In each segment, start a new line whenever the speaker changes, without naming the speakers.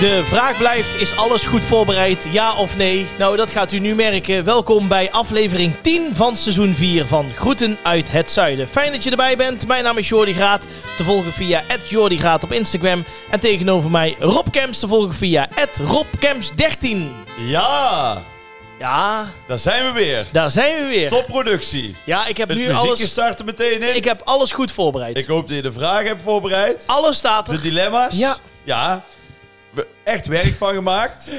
De vraag blijft: is alles goed voorbereid? Ja of nee? Nou, dat gaat u nu merken. Welkom bij aflevering 10 van seizoen 4 van Groeten uit het Zuiden. Fijn dat je erbij bent. Mijn naam is Jordi Graat. Te volgen via Jordi Graat op Instagram. En tegenover mij Rob Kemps. Te volgen via RobKemps13.
Ja,
Ja,
daar zijn we weer.
daar zijn we weer.
Topproductie.
Ja, ik heb
Het
nu
muziekje
alles.
start er meteen in.
Ik
Ik,
heb alles goed voorbereid.
hoop dat je de vragen hebt voorbereid.
Alles staat
De
er.
dilemma's.
Ja.
Ja. We- Echt werk van gemaakt.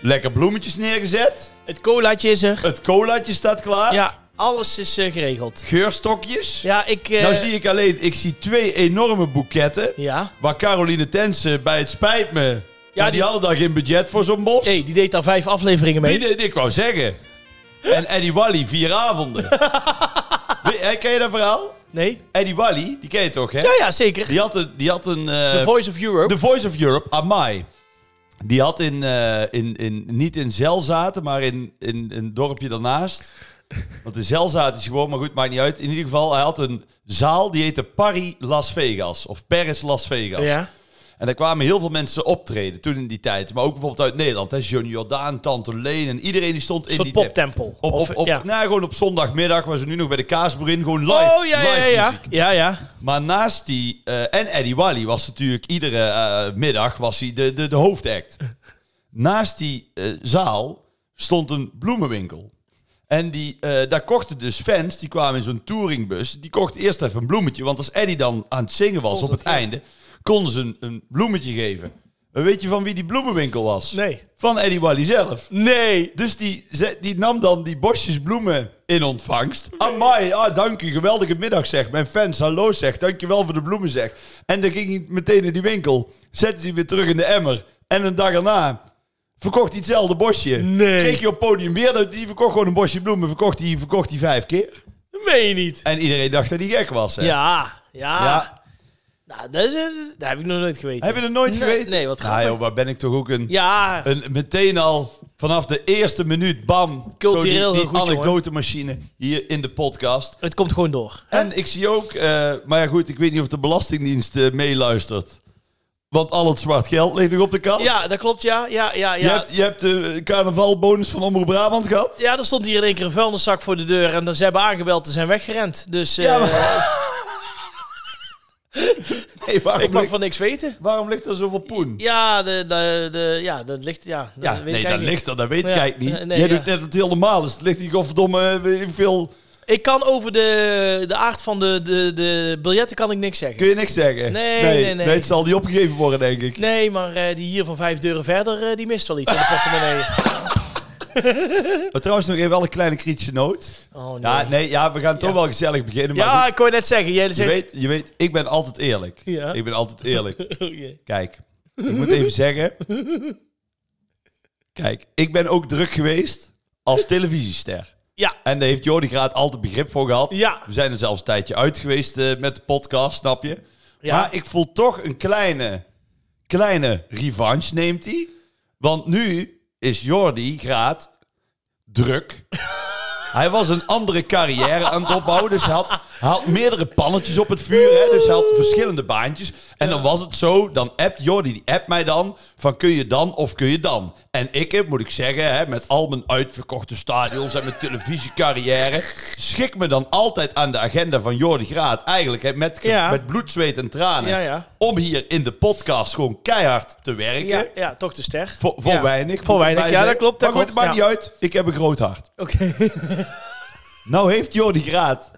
Lekker bloemetjes neergezet.
Het colaatje is er.
Het colaatje staat klaar.
Ja, alles is eh, geregeld.
Geurstokjes.
Ja, ik. eh,
Nou zie ik alleen, ik zie twee enorme boeketten.
Ja.
Waar Caroline Tensen bij het spijt me. Ja, die,
die-
hadden daar geen budget voor zo'n bos.
hey, die deed daar vijf afleveringen mee.
Die deed, ik wou zeggen. En Eddie Wally, vier avonden. We- hè, Ken je dat verhaal?
Nee?
Eddie Wally, die ken je toch, hè?
Ja, ja, zeker.
Die had een... Die had een eh,
The Voice of Europe.
The Voice of Europe, Amai. Die had in, eh, in, in, niet in Zelzaten, maar in, in, in een dorpje daarnaast. Want in Zelzaten is gewoon, maar goed, maakt niet uit. In ieder geval, hij had een zaal die heette Paris Las Vegas. Of Paris Las Vegas.
ja.
En daar kwamen heel veel mensen optreden toen in die tijd. Maar ook bijvoorbeeld uit Nederland. Hè? Johnny Jordaan, Tante Leen en iedereen die stond in
Een soort
die tent.
poptempel.
Op,
Of-
op, op,
ja.
nou, gewoon op zondagmiddag, waar ze nu nog bij de kaasboerin, gewoon live,
Oh, ja, ja,
live
ja. Ja,
muziek.
ja. ja.
Maar naast die... eh, en Eddie Wally was natuurlijk iedere eh, middag was hij de, de, de hoofdact. Naast die eh, zaal stond een bloemenwinkel. En die, eh, daar kochten dus fans, die kwamen in zo'n touringbus... die kochten eerst even een bloemetje. Want als Eddie dan aan het zingen was op het einde... konden ze een, een bloemetje geven. En weet je van wie die bloemenwinkel was?
Nee.
Van Eddie Wally zelf.
Nee.
Dus die, ze- die nam dan die bosjes bloemen in ontvangst. Amai, ah, dank u, geweldige middag zeg. Mijn fans, hallo zeg, dankjewel voor de bloemen zeg. En dan ging hij meteen in die winkel, zette hij weer terug in de emmer. En een dag erna verkocht hij hetzelfde bosje.
Nee.
Kreeg hij op het podium weer, dat- die verkocht gewoon een bosje bloemen, verkocht hij, verkocht hij vijf keer.
Dat meen je niet.
En iedereen dacht dat hij gek was. Hè?
Ja, ja.
Eh, Ja.
Nou, dat, is, eh, dat heb ik nog nooit geweten.
Heb je dat nooit
Nee,
geweten?
nee, wat
Ah,
grappig.
joh, waar ben ik toch ook een...
Ja,
Een, meteen al vanaf de eerste minuut, bam,
Cultureel
zo die,
heel
die
goed, jongen.
anekdotemachine hier in de podcast.
het komt gewoon door.
En ik zie ook, eh, maar ja goed, ik weet niet of de Belastingdienst eh, meeluistert. Want al het zwart geld ligt nog op de kast.
Ja, dat klopt, ja. Ja, ja,
Je,
ja.
hebt, je hebt de carnavalbonus van Omroep Brabant gehad.
Ja, er stond hier in één keer een vuilniszak voor de deur en dan ze hebben aangebeld en zijn weggerend. Dus eh,
Ja, maar... nee, waarom,
ik mag
ligt,
van niks weten.
waarom ligt er zoveel poen?
Ja, de, de, de, ja dat ligt... Ja, dat
Ja,
weet
nee,
ik
dat
eigenlijk
ligt er, dat weet
Ja,
ik eigenlijk niet.
eh, nee,
Jij
ja.
doet net wat het heel normaal is. Het ligt hier godverdomme eh, weet ik veel...
niet. Ik kan over de, de aard van de, de, de biljetten kan ik niks zeggen.
Kun je niks zeggen?
Nee, nee, nee.
het zal niet opgegeven worden, denk ik.
Nee, maar eh, die hier van vijf deuren verder, eh, die mist wel iets in de portemonnee.
Maar trouwens nog even wel een kleine kritische noot.
Oh nee.
Ja,
Ja,
nee, ja, we gaan toch
Ja.
wel gezellig beginnen. Maar goed,
ik kon je net zeggen. Jij
je,
zegt...
weet, je weet, ik ben altijd eerlijk.
Ja.
Ik ben altijd eerlijk.
Oh, jee.
Kijk, ik moet even zeggen. Kijk, ik ben ook druk geweest als televisiester.
Ja,
En daar heeft Jordi Graat altijd begrip voor gehad.
Ja.
We zijn er zelfs een tijdje uit geweest eh, met de podcast, snap je?
Ja.
Maar ik voel toch een kleine, kleine revanche, neemt hij. Want nu is Jordi Graat druk. hij was een andere carrière aan het opbouwen. Dus hij had, hij had meerdere pannetjes op het vuur. Hè, dus hij had verschillende baantjes. En dan was het zo, dan appt Jordi, die appt mij dan... van kun je dan of kun je dan? En ik heb, moet ik zeggen, hè, met al mijn uitverkochte stadions... en mijn televisiecarrière... schik me dan altijd aan de agenda van Jordi Graat. Eigenlijk hè, met, ge-
Ja.
met bloed, zweet en tranen.
Ja, ja.
Om hier in de podcast gewoon keihard te werken.
ja, ja, toch de ster.
Voor, voor
Ja.
eh, weinig. moet
Voor
ik
weinig,
bij
ja, dat
zeggen.
klopt. Dat
maar goed, het
klopt.
maakt
ja.
niet uit. Ik heb een groot hart.
Oké.
Nou heeft Jordi Graat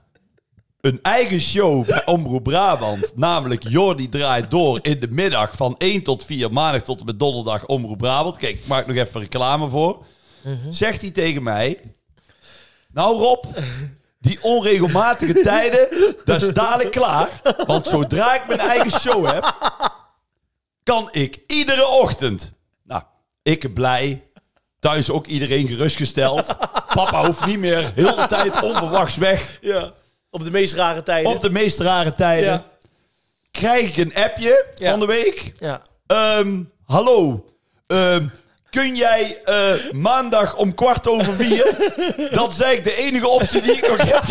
een eigen show bij Omroep Brabant. Namelijk Jordi draait door in de middag van 1 tot 4, maandag tot en met donderdag Omroep Brabant. Kijk, ik maak nog even reclame voor. Zegt hij tegen mij... Nou Rob, die onregelmatige tijden, dat is dadelijk klaar. Want zodra ik mijn eigen show heb, kan ik iedere ochtend... Nou, ik blij, thuis ook iedereen gerustgesteld. Papa hoeft niet meer heel de tijd onverwachts weg.
ja. Op de meest rare tijden.
Op de meest rare tijden.
Ja.
Krijg ik een appje
Ja.
van de week.
Ja.
Ehm, hallo, ehm, kun jij eh, maandag om kwart over vier? Dat is eigenlijk de enige optie die ik nog heb.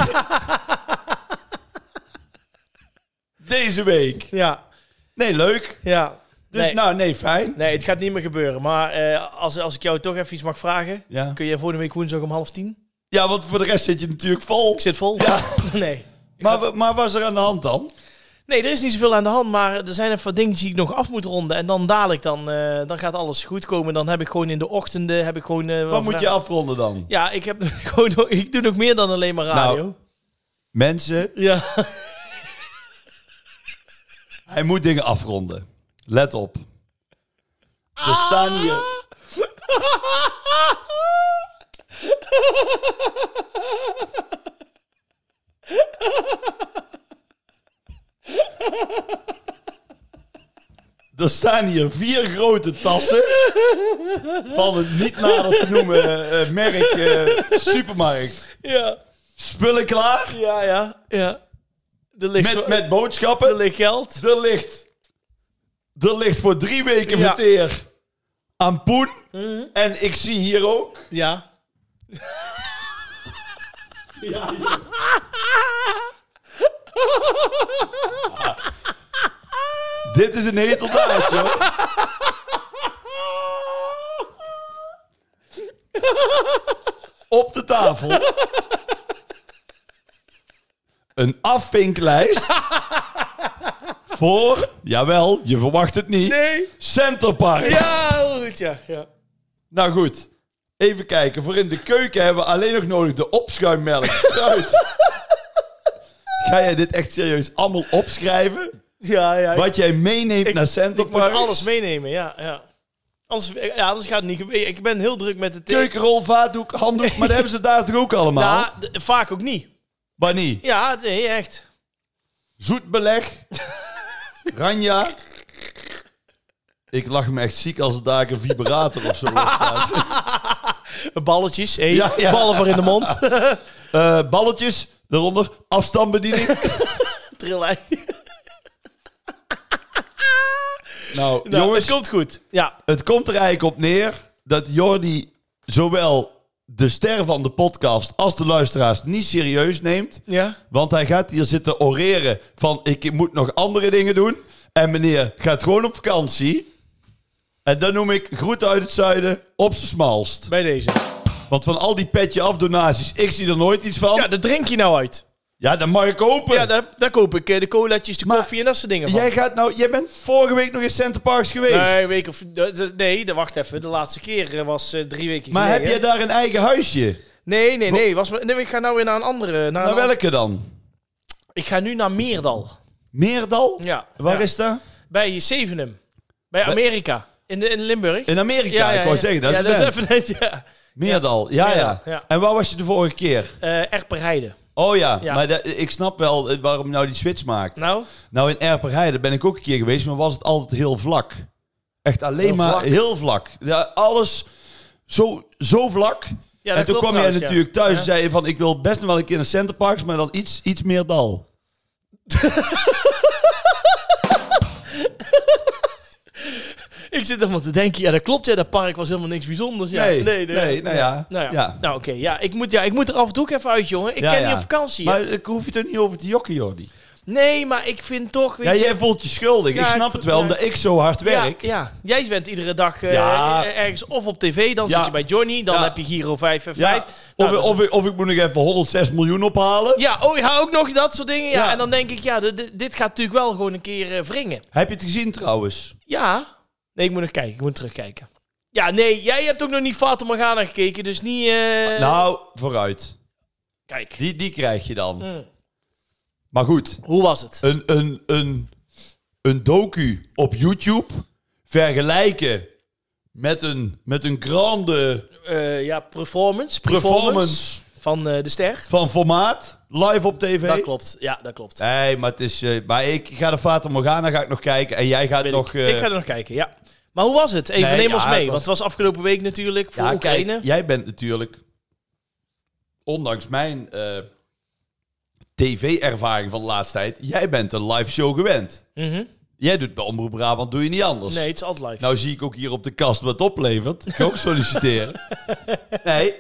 Deze week.
Ja.
Nee, leuk.
Ja.
Dus
Nee.
nou, nee, fijn.
Nee, het gaat niet meer gebeuren. Maar eh, als, als ik jou toch even iets mag vragen.
Ja.
Kun je volgende week woensdag om half tien?
ja, want voor de rest zit je natuurlijk vol.
Ik zit vol. Nee. Ik
Maar,
had-
wa- maar was er aan de hand dan?
Nee, er is niet zoveel aan de hand, maar er zijn even wat dingetjes die ik nog af moet ronden. En dan dadelijk, dan, eh, dan gaat alles goed komen. Dan heb ik gewoon in de ochtenden, heb ik gewoon... eh,
Wat moet
vragen.
je afronden dan?
Ja, ik, heb gewoon, nog- ik doe nog meer dan alleen maar radio.
Nou. Mensen,
Ja.
hij moet dingen afronden. Let op. Er staan hier... Er staan hier vier grote tassen van het niet nader te noemen eh, merk eh, supermarkt.
Ja,
Spullen klaar,
ja, ja. ja. Er, ligt zo-
met, met
er
boodschappen.
ligt geld.
Er ligt, er ligt voor drie
Ja.
weken
Mhm.
verteer aan poen. En ik zie hier ook...
Ja.
Dit is een heteldaad, joh. Op de tafel. Een afvinklijst. Voor, jawel, je verwacht het niet.
Nee.
Centerpark.
Ja, goed, ja. ja.
Nou goed, even kijken. Voor in de keuken hebben we alleen nog nodig de opschuimmelk. Fruit. Ga jij dit echt serieus allemaal opschrijven?
Ja, ja.
Wat jij meeneemt naar
ik moet
Centerpark?
alles meenemen, ja, ja. Anders, ja, anders gaat het niet gebeuren. Ik ben heel druk met de teken.
Keukenrol, vaatdoek, handdoek. Maar dat hebben ze daar toch ook allemaal?
Ja, d- Nou, vaak ook niet.
Maar niet.
Ja, nee, echt.
Zoet beleg. Ranja. Ik lach me echt ziek als het daar een vibrator of zo op staat.
Balletjes, hé.
Ja, ja.
ballen voor in de mond.
Eh, balletjes, daaronder afstandsbediening.
Trillij.
Nou,
Nou,
jongens.
het komt goed. Ja,
Het komt er eigenlijk op neer dat Jordi zowel de ster van de podcast als de luisteraars niet serieus neemt.
ja.
Want hij gaat hier zitten oreren van ik moet nog andere dingen doen. En meneer gaat gewoon op vakantie. En dan noem ik groeten uit het zuiden op z'n smalst.
bij deze.
Want van al die petje af donaties, ik zie er nooit iets van.
Ja,
Ja,
dat drink je nou uit.
dan mag ik open.
Ja, daar, daar koop ik eh, de colaatjes, de koffie en dat soort dingen van.
Jij gaat nou, jij bent vorige week nog in Center Parks geweest.
Nee, een week of, d- d- nee, de- wacht even. De laatste keer eh, was eh, drie weken
maar heb
geleden.
jij daar een eigen huisje?
Nee, nee, nee, was, maar- nee. Ik ga nou weer naar een andere. Naar
Naar
een an-
welke dan?
Ik ga nu naar Meerdal.
Meerdal?
Ja.
Waar
Ja.
is dat?
Bij Zevenum. Bij Amerika. In, de, in Limburg.
In Amerika, ik wou zeggen, dat
ja,
is het
dat is even net, ja.
Meerdal, ja, ja,
Ja, ja.
En waar was je de vorige keer?
Eh, Erperheide.
Oh ja,
Ja.
maar dat- ik snap wel eh, waarom je nou die switch maakt. Nou,
Nou,
in Erperheide ben ik ook een keer geweest, maar was het altijd heel vlak. Echt alleen
Heel
maar
vlak.
heel vlak. Ja, alles zo, zo vlak.
ja, dat
en toen
klopt
kwam jij
trouwens, ja.
natuurlijk thuis en
Ja.
zei je van, ik wil best nog wel een keer naar Centerparks, maar dan iets, iets meer dal.
Ik zit helemaal te denken, ja dat klopt, ja, dat park was helemaal niks bijzonders. Ja.
nee, nee, nou ja.
Nou ja,
ja.
nou, oké. Ja, ik, moet, ja, ik moet er af en toe ook even uit, jongen. Ik
Ja,
ken
ja.
niet op vakantie. hè.
Maar ik hoef je er niet over te jokken, Jordi.
Nee, maar ik vind toch... Weet
Ja,
je,
jij voelt je schuldig.
Ja,
ik
ik-
snap het wel,
ja.
omdat ik zo hard werk.
Ja, ja. jij bent iedere dag eh,
Ja.
eh, ergens of op tv, dan
Ja.
zit je bij Johnny, dan
Ja.
heb je Giro 5 en 5.
Ja, of, of, ik- of ik moet nog even 106 miljoen ophalen.
Ja, oh, ja, ook nog dat soort dingen. Ja.
Ja.
En dan denk ik, ja, dit- dit- dit gaat natuurlijk wel gewoon een keer eh, wringen.
Heb je het gezien trouwens?
Ja. Nee, ik moet nog kijken. Ik moet terugkijken. Ja, nee, jij hebt ook nog niet Fata Morgana gekeken, dus niet... eh,
nou, vooruit.
Kijk.
Die, die krijg je dan.
Mm.
Maar goed,
Hoe was het?
een, een, een, een docu op YouTube vergelijken met een, met een grande
Eh, ja, performance.
performance
Van eh, de ster.
van formaat live op tv.
Dat klopt. Ja, dat klopt.
Nee, maar, het is, eh, maar ik ga de Fata Morgana ga ik nog kijken en jij gaat
Weet
nog...
ik.
eh,
ik ga er nog kijken, ja. Maar hoe was het? Even
Nee,
neem
ja,
ons mee.
het was-
Want het was afgelopen week natuurlijk voor
Ja,
Oekraïne.
kijk, jij bent natuurlijk, ondanks mijn eh, tv-ervaring van de laatste tijd, jij bent een live show gewend.
Mhm.
Jij doet bij Omroep Brabant, doe je niet anders.
Nee, het is altijd live.
Nou zie ik ook hier op de kast wat het oplevert. Ik ga ook solliciteren. nee,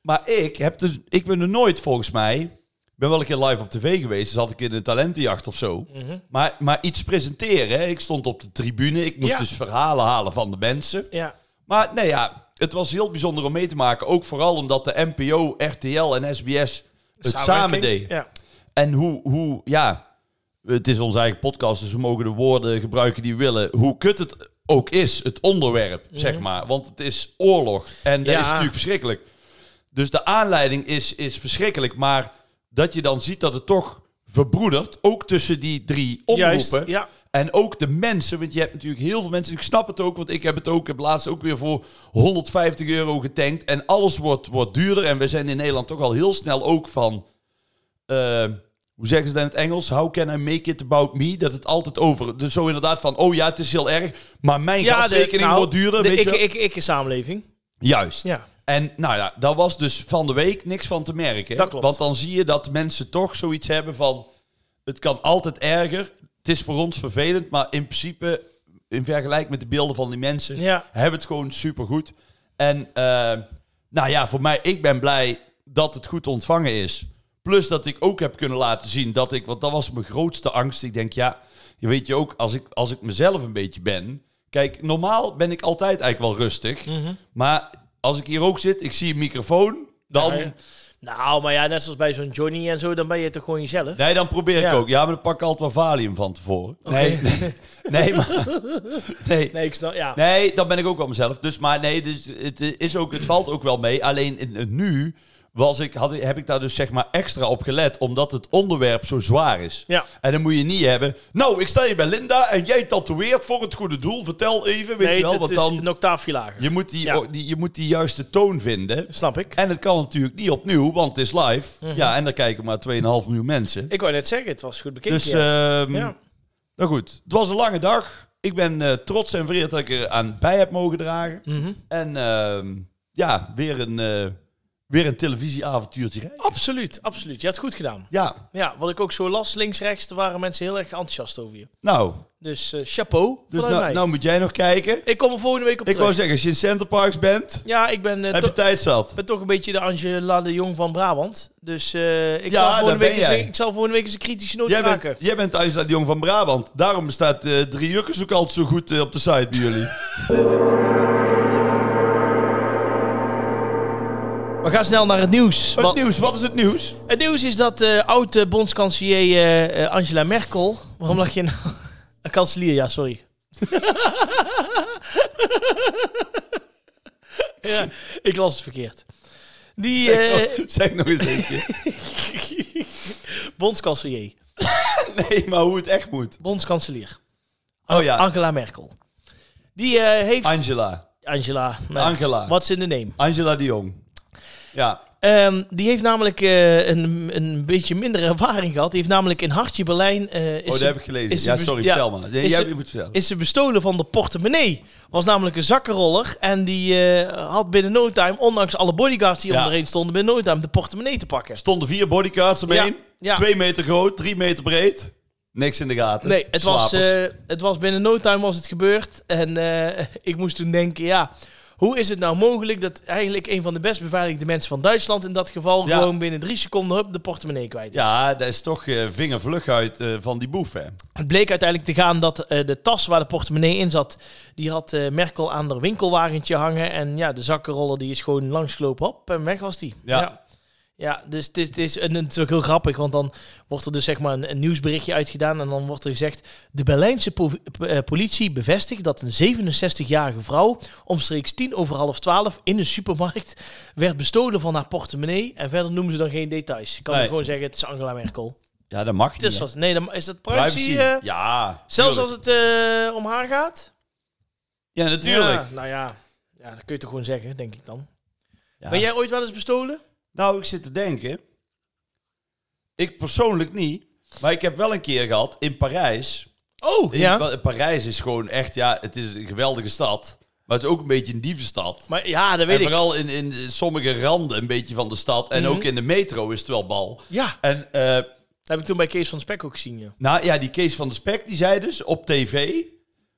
maar ik, heb dus, ik ben er nooit volgens mij Ik ben wel een keer live op tv geweest, dus had ik in een talentenjacht of zo.
Mhm.
Maar, maar iets presenteren. Hè? Ik stond op de tribune, ik moest
Ja.
dus verhalen halen van de mensen.
Ja.
Maar nee, ja, het was heel bijzonder om mee te maken. Ook vooral omdat de NPO, RTL en SBS het samen deden.
Ja.
En hoe, hoe, ja, het is onze eigen podcast, dus we mogen de woorden gebruiken die we willen. Hoe kut het ook is, het onderwerp, zeg maar. Want het is oorlog en dat
Mhm. Ja.
is natuurlijk verschrikkelijk. Dus de aanleiding is, is verschrikkelijk, maar dat je dan ziet dat het toch verbroedert, ook tussen die drie
Juist,
omroepen.
ja.
En ook de mensen, want je hebt natuurlijk heel veel mensen. Ik snap het ook, want ik heb het ook. Ik heb laatst ook weer voor 150 euro getankt. En alles wordt, wordt duurder. En we zijn in Nederland toch al heel snel ook van. eh, hoe zeggen ze dat in het Engels? How can I make it about me? Dat het altijd over. Dus zo inderdaad van. Oh ja, het is heel erg. Maar mijn
Ja, de,
gasrekening
nou,
wordt duurder.
de
weet je
ik,
wel?
ik, ik, samenleving.
Juist.
Ja.
En nou ja, daar was dus van de week niks van te merken.
Dat klopt.
Want dan zie je dat mensen toch zoiets hebben van... Het kan altijd erger. Het is voor ons vervelend, maar in principe... In vergelijking met de beelden van die mensen...
Ja.
hebben het gewoon supergoed. En eh, nou ja, voor mij... Ik ben blij dat het goed ontvangen is. Plus dat ik ook heb kunnen laten zien dat ik... Want dat was mijn grootste angst. Ik denk, ja, je weet je ook... Als ik, als ik mezelf een beetje ben... Kijk, normaal ben ik altijd eigenlijk wel
Mm.
rustig.
Mhm.
Maar als ik hier ook zit, ik zie een microfoon, dan...
Ja, ja. Nou, maar ja, net zoals bij zo'n Johnny en zo, dan ben je toch gewoon jezelf.
Nee, dan probeer ik
Ja.
ook. Ja, maar dan pak ik altijd wel Valium van tevoren.
Oké.
Nee, nee, nee, maar... Nee,
Nee, ik snap, ja.
nee, dan ben ik ook wel mezelf. Dus, maar nee, dus, het, is ook, het valt ook wel mee. Alleen in, in nu was ik, had, ik- heb ik daar dus zeg maar extra op gelet, omdat het onderwerp zo zwaar is.
Ja.
En dan moet je niet hebben... Nou, ik sta hier bij Linda en jij tatoeëert voor het goede doel. Vertel even, weet
Nee,
je wel.
het
Want
is
dan,
een octaafje lager.
je, moet die,
Ja.
o- die, je moet die juiste toon vinden.
Snap ik.
En het kan natuurlijk niet opnieuw, want het is live. Ja, en daar kijken maar 2,5 miljoen mensen.
Mhm. Ik wou net zeggen, het was goed bekeken.
dus,
ja.
ehm,
Ja.
nou goed. Het was een lange dag. Ik ben eh, trots en vereerd dat ik er aan bij heb mogen dragen.
Mhm.
En ehm, ja, weer een, eh, weer een televisieavontuurtje rijden.
Absoluut, absoluut. Je hebt het goed gedaan.
Ja,
Ja, wat ik ook zo las, links, rechts, er waren mensen heel erg enthousiast over je.
nou.
Dus eh, chapeau
Dus
vanuit
nou,
mij.
nou moet jij nog kijken.
ik kom er volgende week op
Ik
terug.
wou zeggen, als je in Center Parks bent,
Ja, ik ben, eh,
heb
to-
je tijd zat.
ben toch een beetje de Angela de Jong van Brabant. Dus eh, ik,
Ja,
zal volgende
daar
week
ben
eens,
jij.
ik zal volgende week eens een kritische noot
Jij
maken.
bent, jij bent thuis naar de Jong van Brabant. Daarom staat eh, Drie Jukkers ook altijd zo goed eh, op de site bij jullie.
We gaan snel naar het nieuws.
Het
want-
nieuws, wat is het nieuws?
Het nieuws is dat eh oud-bondskanselier eh, Angela Merkel... Waarom
Oh.
lag je nou... Eh, Kanselier, ja, sorry. ja, ik las het verkeerd. Die eh
Zeg nog eens een keer. oh.
bondskanselier,
Nee, maar hoe het echt moet.
bondskanselier
Oh ja,
Angela Merkel. Die eh, heeft...
Angela.
Angela. nee.
Angela.
What's in the name?
Angela de Jong. Ja, Oh,
Ehm, die heeft namelijk eh, een, een beetje minder ervaring gehad. Die heeft namelijk in Hartje Berlijn... eh, is
oh, dat
ze-
heb ik gelezen.
is ze
Ja,
be-
sorry,
ja.
vertel maar. Nee,
Is
jij
ze-
moet vertellen.
is ze bestolen van de portemonnee. Was namelijk een zakkenroller. En die eh, had binnen no time, ondanks alle bodyguards die
Ja.
om erheen stonden, binnen no time de portemonnee te pakken.
Stonden vier bodyguards omheen.
ja.
Twee meter groot, drie meter breed. Niks in de gaten.
Nee, het was,
Slapers.
eh, het was binnen no time was het gebeurd. En eh, ik moest toen denken, ja, hoe is het nou mogelijk dat eigenlijk een van de best beveiligde mensen van Duitsland in dat geval
Ja.
gewoon binnen drie seconden hup, de portemonnee kwijt is?
Ja, dat is toch eh vingervlug uit eh, van die boef, hè?
Het bleek uiteindelijk te gaan dat eh, de tas waar de portemonnee in zat, die had eh, Merkel aan haar winkelwagentje hangen. En ja, de zakkenroller die is gewoon langsgelopen, hop, en weg was die.
Ja.
ja. Ja, dus het is, het, is, en het is ook heel grappig, want dan wordt er dus zeg maar een, een nieuwsberichtje uitgedaan en dan wordt er gezegd... De Berlijnse po- po- eh, politie bevestigt dat een 67-jarige vrouw omstreeks 10 over half 12 in een supermarkt werd bestolen van haar portemonnee. En verder noemen ze dan geen details. Ik kan
Nee.
er gewoon zeggen, het is Angela Merkel.
Ja, dat mag
Het
niet.
is
hè.
wat, nee, dan is dat privacy...
Privacy.
eh,
ja,
Zelfs als
tuurlijk.
het eh, om haar gaat?
Ja, natuurlijk.
Ja, nou ja. ja, dat kun je toch gewoon zeggen, denk ik dan.
Ja.
Ben jij ooit wel eens bestolen?
Nou, ik zit te denken. Ik persoonlijk niet. Maar ik heb wel een keer gehad in Parijs.
Oh,
In-
ja.
wel, Parijs is gewoon echt, ja, het is een geweldige stad. Maar het is ook een beetje een dievenstad.
Maar ja, dat weet
En
ik. Mhm.
vooral in, in sommige randen een beetje van de stad. En ook in de metro is het wel bal.
Ja,
En eh,
dat heb ik toen bij Kees van Spek ook gezien, ja.
nou ja, die Kees van de Spek, die zei dus op tv...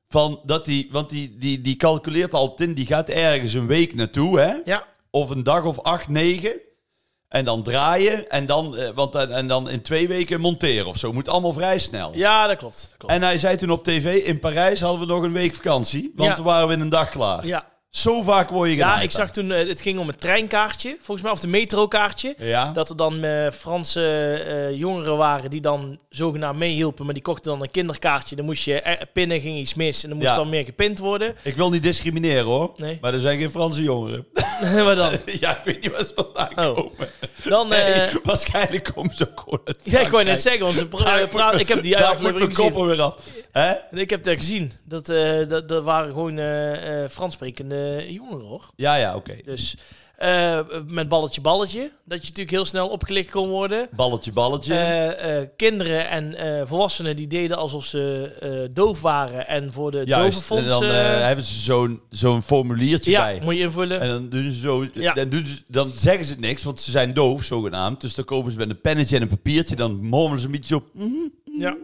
Van dat die, want die, die, die calculeert altijd in, die gaat ergens een week naartoe, hè?
Ja,
Of een dag of acht, negen. En dan draaien. En dan, eh, want, dan- en dan in twee weken monteren of zo. Moet allemaal vrij snel.
Ja, dat klopt. Dat klopt.
En hij zei toen op tv, in Parijs hadden we nog een week vakantie. Want
Ja.
toen waren we in een dag klaar.
ja.
Zo vaak word je
ja,
genaaid
ik
dan.
zag toen, eh, het ging om een treinkaartje, volgens mij, of de metrokaartje.
Ja.
Dat er dan eh, Franse eh, jongeren waren die dan zogenaamd meehielpen, maar die kochten dan een kinderkaartje. Dan moest je eh, pinnen, ging iets mis en dan moest
Ja.
dan meer gepind worden.
Ik wil niet discrimineren hoor.
Nee.
Maar er zijn geen Franse jongeren.
maar dan,
ja, ik weet niet waar ze vandaan
Oh.
komen.
dan eh,
Nee, waarschijnlijk komen ze ook gewoon uit
ja, ik wou net
Frankrijk.
zeggen, want ze pra-
Daar moet
praat,
mijn-
ik heb die
Daar moet mijn
aflevering gezien.
koppen weer af. Hè?
Ik heb dat gezien. Dat, eh, dat, dat waren gewoon eh eh Frans sprekende jongeren hoor.
Ja, ja, oké.
Dus eh, met balletje balletje, dat je natuurlijk heel snel opgelicht kon worden.
Balletje, balletje.
Eh, eh, kinderen en eh, volwassenen die deden alsof ze eh, doof waren en voor de
Juist. En
dovenfonds...
dan
eh,
eh, hebben ze zo'n zo'n formuliertje
ja,
bij.
moet je invullen.
En dan, doen ze zo,
Ja.
dan, doen ze, dan zeggen ze niks, want ze zijn doof, zogenaamd. Dus dan komen ze met een pennetje en een papiertje. Dan mormelen ze een beetje op.
ja.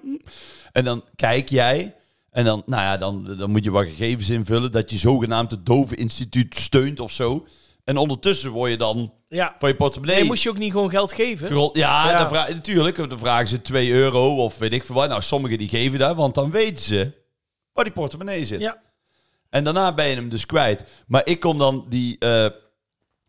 En dan kijk jij. En dan, nou ja, dan, dan moet je wat gegevens invullen. Dat je zogenaamd het Dove Instituut steunt of zo. En ondertussen word je dan
ja.
van je portemonnee.
Nee, moest je ook niet gewoon geld geven?
gerol- ja,
Ja.
Dan vra- natuurlijk. want Dan vragen ze 2 euro of weet ik veel wat. Nou, sommigen die geven daar, want dan weten ze waar die portemonnee zit.
Ja.
En daarna ben je hem dus kwijt. Maar ik kom dan die, eh,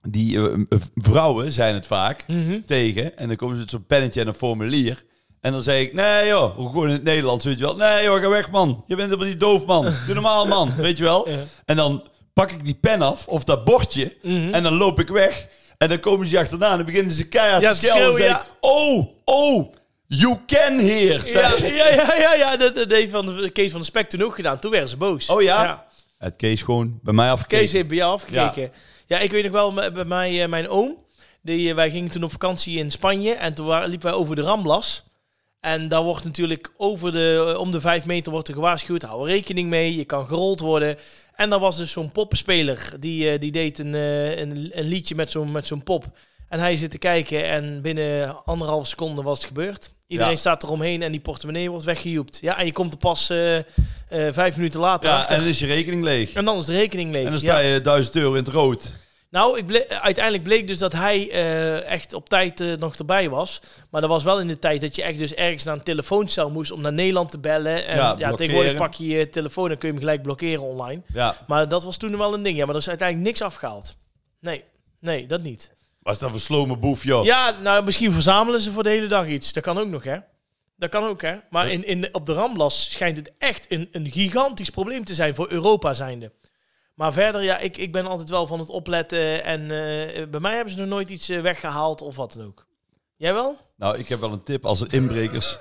die eh, v- vrouwen, zijn het vaak,
Hm. Mhm.
tegen. En dan komen ze met zo'n pennetje en een formulier. En dan zeg ik, nee joh, gewoon in het Nederlands, weet je wel. Nee joh, ga weg man. Je bent helemaal niet doof man. Doe normaal man, weet je wel.
Ja.
En dan pak ik die pen af, of dat bordje,
Mhm.
en dan loop ik weg. En dan komen ze achterna en dan beginnen ze keihard
Ja,
te schelden. En
schreeuwen,
zeg ik, oh, oh, you can hear.
Ja,
Zeg ik.
ja, ja, ja, ja, dat, dat heeft van de, Kees van de Spek toen ook gedaan. Toen werden ze boos.
Oh ja? Het Kees gewoon bij mij afgekeken.
Kees heeft bij jou afgekeken. Ja. ik weet nog wel, m- bij mij, eh, mijn oom, die, eh, wij gingen toen op vakantie in Spanje en toen wa- liepen wij over de Ramblas. En daar wordt natuurlijk over de, eh, om de vijf meter wordt er gewaarschuwd, hou er rekening mee, je kan gerold worden. En daar was dus zo'n poppenspeler, die, eh, die deed een, eh, een, een liedje met zo'n, met zo'n pop. En hij zit te kijken en binnen anderhalf seconde was het gebeurd. Iedereen
Ja.
staat eromheen en die portemonnee wordt weggejoept. Ja, en je komt er pas eh, eh, vijf minuten later
Ja,
achter.
en
En,
dan is je rekening leeg.
dan is de rekening leeg.
En dan
Ja.
sta je 1000 euro in het rood.
Nou, ik ble- uiteindelijk bleek dus dat hij eh, echt op tijd eh, nog erbij was. Maar dat was wel in de tijd dat je echt dus ergens naar een telefooncel moest om naar Nederland te bellen. En
Ja,
ja,
blokkeren.
tegenwoordig pak je je telefoon en kun je hem gelijk blokkeren online.
Ja.
Maar dat was toen wel een ding. Ja, maar er is uiteindelijk niks afgehaald. Nee, nee, dat niet.
Was dat voor slome boef, joh?
Ja, nou, misschien verzamelen ze voor de hele dag iets. Dat kan ook nog, hè? Dat kan ook, hè? Maar in, in, op de Ramblas schijnt het echt een, een gigantisch probleem te zijn voor Europa zijnde. Maar verder, ja, ik, ik ben altijd wel van het opletten. En eh, bij mij hebben ze nog nooit iets eh, weggehaald of wat dan ook. Jij wel?
Nou, ik heb wel een tip als er inbrekers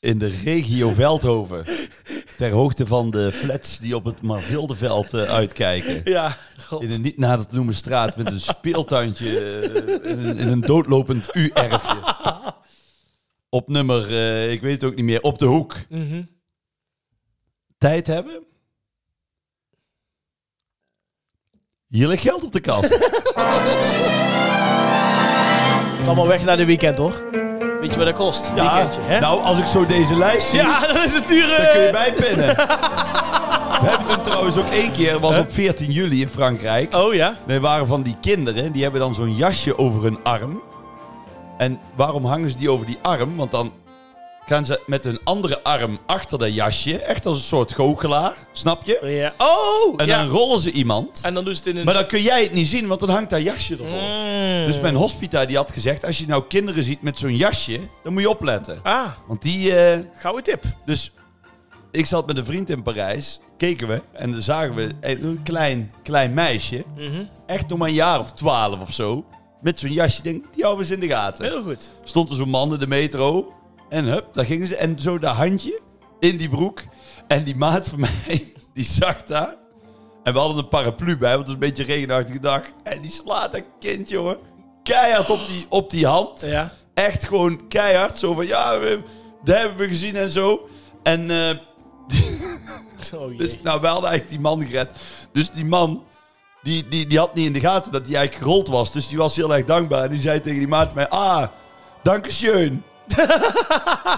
in de regio Veldhoven, ter hoogte van de flats die op het Marvildeveld eh, uitkijken,
Ja.
in een niet nader te noemen straat met een speeltuintje eh, in, een, in een doodlopend U-erfje. Op nummer, eh, ik weet het ook niet meer, op de hoek.
Mhm.
Tijd hebben? Hier ligt geld op de kast.
Het is allemaal weg naar de weekend, hoor. Weet je wat dat kost? Weekendje, hè?
nou, als ik zo deze lijst zie,
ja, dan is het duur.
dan kun je
eh,
bijpinnen. We hebben toen trouwens ook één keer, was
Huh?
op 14 juli in Frankrijk.
Oh ja.
Er waren van die kinderen, die hebben dan zo'n jasje over hun arm. En waarom hangen ze die over die arm? Want dan gaan ze met hun andere arm achter dat jasje, echt als een soort goochelaar, snap je?
ja. Oh!
En
ja.
dan rollen ze iemand.
en dan doen ze het in een...
Maar dan kun jij het niet zien, want dan hangt dat jasje ervoor.
Mm.
Dus mijn hospita die had gezegd, als je nou kinderen ziet met zo'n jasje, dan moet je opletten.
Ah,
Want die, eh,
gouden tip.
Dus ik zat met een vriend in Parijs, keken we en dan zagen we een klein, klein meisje, echt nog maar een jaar of twaalf of zo, met zo'n jasje. Ik Denk, die houden we eens in de gaten.
Heel goed.
Stond er zo'n man in de metro en hup, daar gingen ze. En zo dat handje in die broek. En die maat van mij, die zag daar. En we hadden een paraplu bij, want het was een beetje een regenachtige dag. En die slaat dat kind, jongen, keihard op die, op die hand.
Ja.
Echt gewoon keihard. Zo van, ja, we, dat hebben we gezien en zo. En eh,
Oh jee.
dus, nou, we hadden eigenlijk die man gered. Dus die man, die, die, die had niet in de gaten dat hij eigenlijk gerold was. Dus die was heel erg dankbaar. En die zei tegen die maat van mij, ah, dankeschön.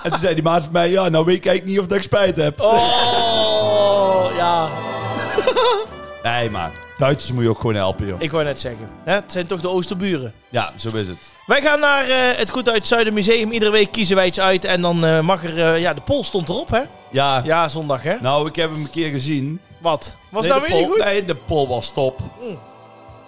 en toen zei die maat van mij, ja, nou weet ik eigenlijk niet of dat ik spijt heb.
Oh, ja.
Nee, maar Duitsers moet je ook gewoon helpen, joh.
Ik wou net zeggen. Hè? Het zijn toch de Oosterburen.
Ja, zo is het.
Wij gaan naar eh, het Goed Uit het Zuiden Museum. Iedere week kiezen wij iets uit. En dan eh, mag er... eh, ja, de poll stond erop, hè?
Ja,
Ja, zondag, hè?
nou, ik heb hem een keer gezien.
Wat? Was
nee,
nou
de
weer niet Hmm.
poll-
goed?
Nee, de poll was top.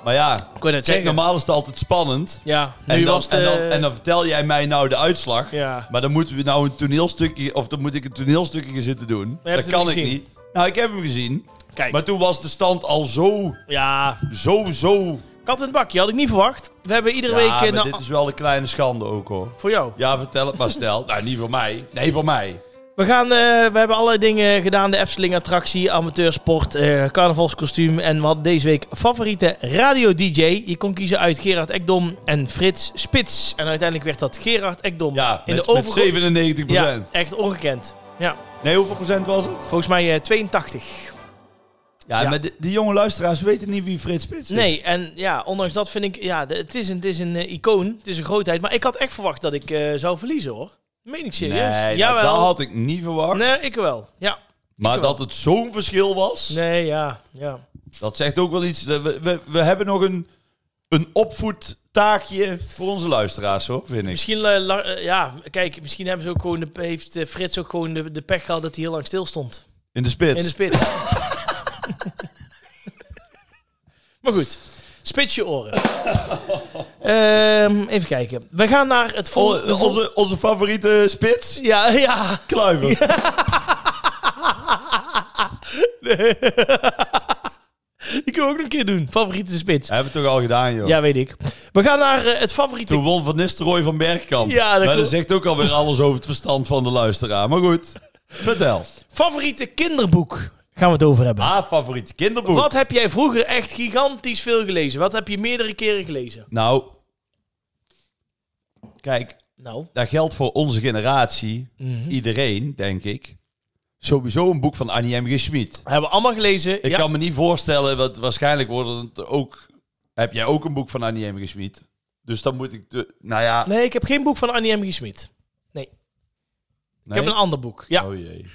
Maar ja,
Ik wou net
kijk,
zeggen.
normaal is het altijd spannend.
Ja, nu
En dan,
was het...
en, dan,
eh,
en dan vertel jij mij nou de uitslag.
Ja.
Maar dan moeten we nou een toneelstukje, of dan moet ik een toneelstukje gaan zitten doen.
hebt
dat
hem
kan
niet
ik
gezien.
niet. Nou, ik heb hem gezien.
Kijk.
Maar toen was de stand al zo,
Ja,
zo, zo.
kat in het bakje had ik niet verwacht. We hebben iedere
Ja,
week... eh,
maar
nou-
dit is wel een kleine schande ook hoor.
Voor jou.
Ja, vertel het maar snel. nou, niet voor mij. Nee, voor mij.
We, gaan, eh, we hebben allerlei dingen gedaan. De Efteling-attractie, amateursport, eh, carnavalskostuum. En we hadden deze week favoriete radio-dj. Je kon kiezen uit Gerard Ekdom en Frits Spits. En uiteindelijk werd dat Gerard Ekdom.
Ja,
In
met,
de
met
overige-
97
Ja, echt ongekend. Ja,
Nee, hoeveel procent was het?
volgens mij eh, 82.
Ja,
Ja.
maar die, die jonge luisteraars weten niet wie Frits Spits is.
Nee, en ja, ondanks dat vind ik... Ja, de- het is een, het is een eh, icoon, het is een grootheid. Maar ik had echt verwacht dat ik eh, zou verliezen, hoor. Meen ik
Nee,
serieus.
dat-
Jawel.
dat had ik niet verwacht.
Nee, ik wel. Ja.
maar
ik wel.
dat het zo'n verschil was,
Nee, ja. ja.
dat zegt ook wel iets. We, we, we hebben nog een, een opvoedtaakje voor onze luisteraars, hoor, vind ik.
Misschien, eh, la- eh, ja, kijk, misschien hebben ze ook gewoon de, heeft eh, Frits ook gewoon de, de pech gehad dat hij heel lang stil stond.
In de spits.
In de spits. maar goed, spits je oren. Ehm, even kijken. We gaan naar het
O-
volgende.
Oh, eh, onze, onze favoriete spits?
Ja, ja.
Kluivert.
Die kunnen we ook nog een keer doen. Favoriete spits. Ja,
Hebben we toch al gedaan, joh.
weet ik. We gaan naar eh, het favoriete.
Toen won Van Nistelrooy van Bergkamp.
Ja, dat
Maar dat
klopt.
zegt ook alweer alles over het verstand van de luisteraar. Maar goed, vertel.
Favoriete kinderboek gaan we het over hebben.
Ah, favoriete kinderboek.
Wat heb jij vroeger echt gigantisch veel gelezen? Wat heb je meerdere keren gelezen?
Nou, kijk,
Nou,
dat geldt voor onze generatie,
Mhm.
iedereen, denk ik. Sowieso een boek van Annie M. G. Schmid.
hebben we allemaal gelezen.
Ik
ja.
kan me niet voorstellen, want waarschijnlijk worden het ook... Heb jij ook een boek van Annie M. G. Schmid? Dus dan moet ik... de- nou ja...
Nee, ik heb geen boek van Annie M. G. Smit. Ik
nee?
heb een ander boek. Ja.
Oh jee.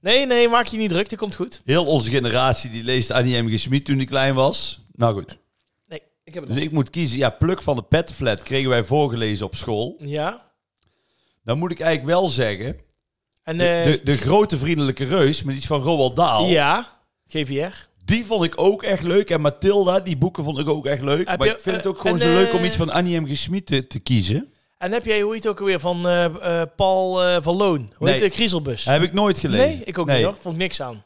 Nee, nee, maak je niet druk. Dat komt goed.
Heel onze generatie die leest Annie M. G. Schmid toen ik klein was. Nou goed.
Nee, ik heb het
Dus
nog.
ik moet kiezen. Ja, Pluk van de Petflat kregen wij voorgelezen op school.
Ja.
Dan moet ik eigenlijk wel zeggen...
En
De,
eh
de, de grote vriendelijke reus, maar die is van Roald Dahl.
ja, GVR.
Die vond ik ook echt leuk. En Mathilda, die boeken vond ik ook echt leuk.
Heb
maar
je-
ik vind het ook
eh,
gewoon
en,
zo leuk om
eh,
iets van Annie M. G. Schmid te, te kiezen.
En heb jij, hoe heet het ook alweer, van eh, eh, Paul eh, van Loon? Hoe heet
Nee.
het? Griezelbus.
Heb ik nooit gelezen.
nee, ik ook niet hoor. Vond ik niks aan.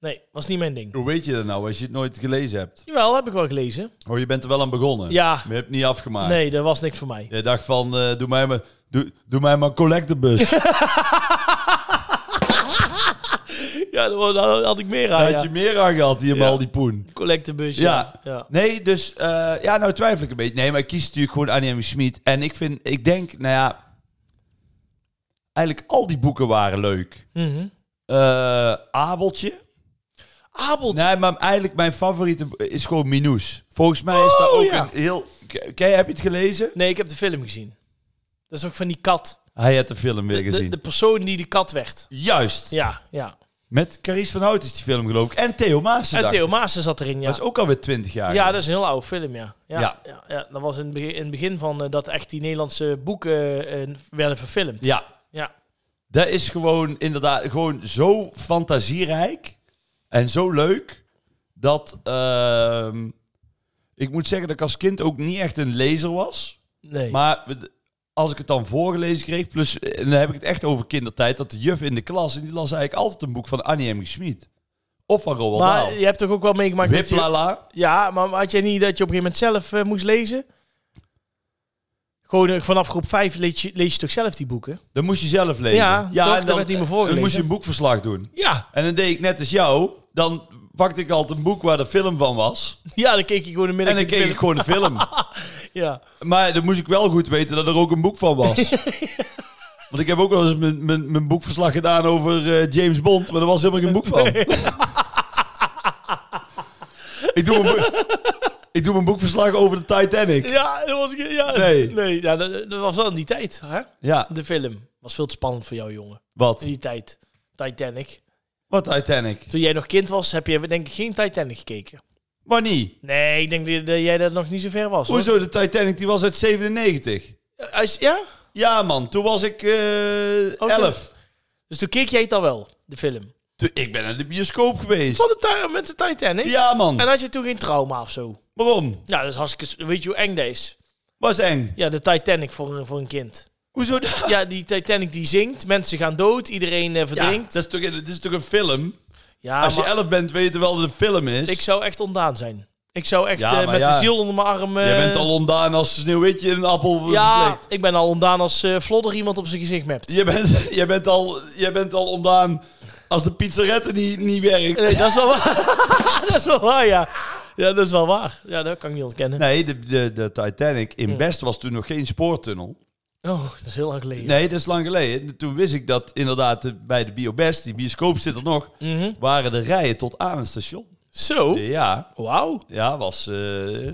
Nee, was niet mijn ding.
Hoe weet je dat nou als je het nooit gelezen hebt?
Jawel, heb ik wel gelezen.
Oh, je bent er wel aan begonnen.
Ja.
Maar je hebt het niet afgemaakt.
Nee, dat was niks voor mij.
Je dacht van, eh, doe mij maar... Doe, doe mij maar een collectebus.
Ja, daar daar had ik meer
Daar
aan.
had
Ja.
je meer aan gehad hier met
Ja.
al die poen.
Collectebus.
Ja.
ja.
Nee, dus eh, ja, nou twijfel ik een beetje. Nee, maar ik kies natuurlijk gewoon Annie M. Schmid. En ik vind, ik denk, nou ja, eigenlijk al die boeken waren leuk.
Mhm.
Eh, Abeltje.
Abeltje.
Nee, maar eigenlijk mijn favoriete bo- is gewoon Minoes. Volgens mij is dat
Oh,
ook
ja.
een heel. K- Ken je, heb je het gelezen?
Nee, ik heb de film gezien. Dat is ook van die kat.
Hij had de film weer
De, de,
gezien.
de persoon die de kat werd.
Juist.
Ja, ja.
Met Carice van Hout is die film geloof ik. En Theo Maas.
En Theo Maassen zat erin, ja.
Dat is ook alweer 20 jaar.
Ja,
geleden.
dat is een heel oude film, ja. Ja,
Ja.
ja. ja, Dat was in het begin, in het begin van eh, dat echt die Nederlandse boeken eh, werden verfilmd. Ja.
ja. Dat is gewoon inderdaad gewoon zo fantasierijk en zo leuk dat ehm, ik moet zeggen dat ik als kind ook niet echt een lezer was.
Nee.
Maar we- als ik het dan voorgelezen kreeg, plus en dan heb ik het echt over kindertijd, dat de juf in de klas en die las eigenlijk altijd een boek van Annie M. G. Schmid of van Roald
Maar
Dahl.
je hebt toch ook wel meegemaakt dat je...
Wiplala.
Ja, maar had jij niet dat je op een gegeven moment zelf eh, moest lezen? Gewoon eh, vanaf groep 5 lees je, lees je toch zelf die boeken?
Dat moest je zelf lezen.
Ja, toch,
en
dat werd niet meer
Dan
voorgelezen.
moest je een boekverslag doen.
Ja.
En dan deed ik net als jou, dan pakte ik altijd een boek waar de film van was.
Ja, dan keek je gewoon een
En
middag.
dan keek ik gewoon de film.
Ja.
Maar dan moest ik wel goed weten dat er ook een boek van was. Want ik heb ook wel eens mijn, mijn, mijn boekverslag gedaan over eh, James Bond, maar er was helemaal geen boek van. ik, doe mijn boek- ik doe mijn boekverslag over de Titanic.
Ja, dat was, ja,
Nee.
nee. ja, dat, dat was wel in die tijd, hè?
Ja,
De film was veel te spannend voor jou, jongen.
wat?
In die tijd. Titanic.
Wat Titanic?
Toen jij nog kind was, heb je denk ik geen Titanic gekeken.
Maar niet.
Nee, ik denk dat dat jij dat nog niet zo ver was. hoor.
Hoezo de Titanic? Die was uit 97.
Eh, hij is- Ja?
Ja man, toen was ik eh
Oh, zo.
11.
Dus toen keek jij het al wel, de film.
Toen- ik ben naar de bioscoop geweest.
Van de ti- met de Titanic?
Ja man,
En had je toen geen trauma of zo?
waarom?
Ja, dat is hartstikke... Weet je hoe eng dat is?
Was eng.
Ja, de Titanic voor, een- voor een kind.
Hoezo dat?
Ja, die Titanic die zinkt, mensen gaan dood, iedereen eh,
Ja,
verdrinkt.
dat is toch, dit is toch een film?
Ja,
Als je
maar
11 bent, weet je wel dat het een film is.
ik zou echt ontdaan zijn. Ik zou echt
Dus Ja,
eh,
maar
met de
ja.
ziel onder mijn arm... eh,
Jij bent al ontdaan als sneeuwwitje in een appel
Ja,
verslikt.
ik ben al ontdaan als eh Flodder iemand op zijn gezicht mept.
Je bent, je, bent al, je bent al ontdaan als de pizzarette niet, niet werkt.
Nee, dat is wel waar. dat is wel waar, ja. Ja, dat is wel waar. Ja, dat kan ik niet ontkennen.
Nee, de, de, de Titanic in Best was toen nog geen spoortunnel.
Oh, dat is heel lang geleden.
Nee, dat is lang geleden. Toen wist ik dat inderdaad eh, bij de BioBest, die bioscoop zit er nog,
Mhm.
waren de rijen tot aan het station.
Zo,
Ja,
wauw.
ja was, eh,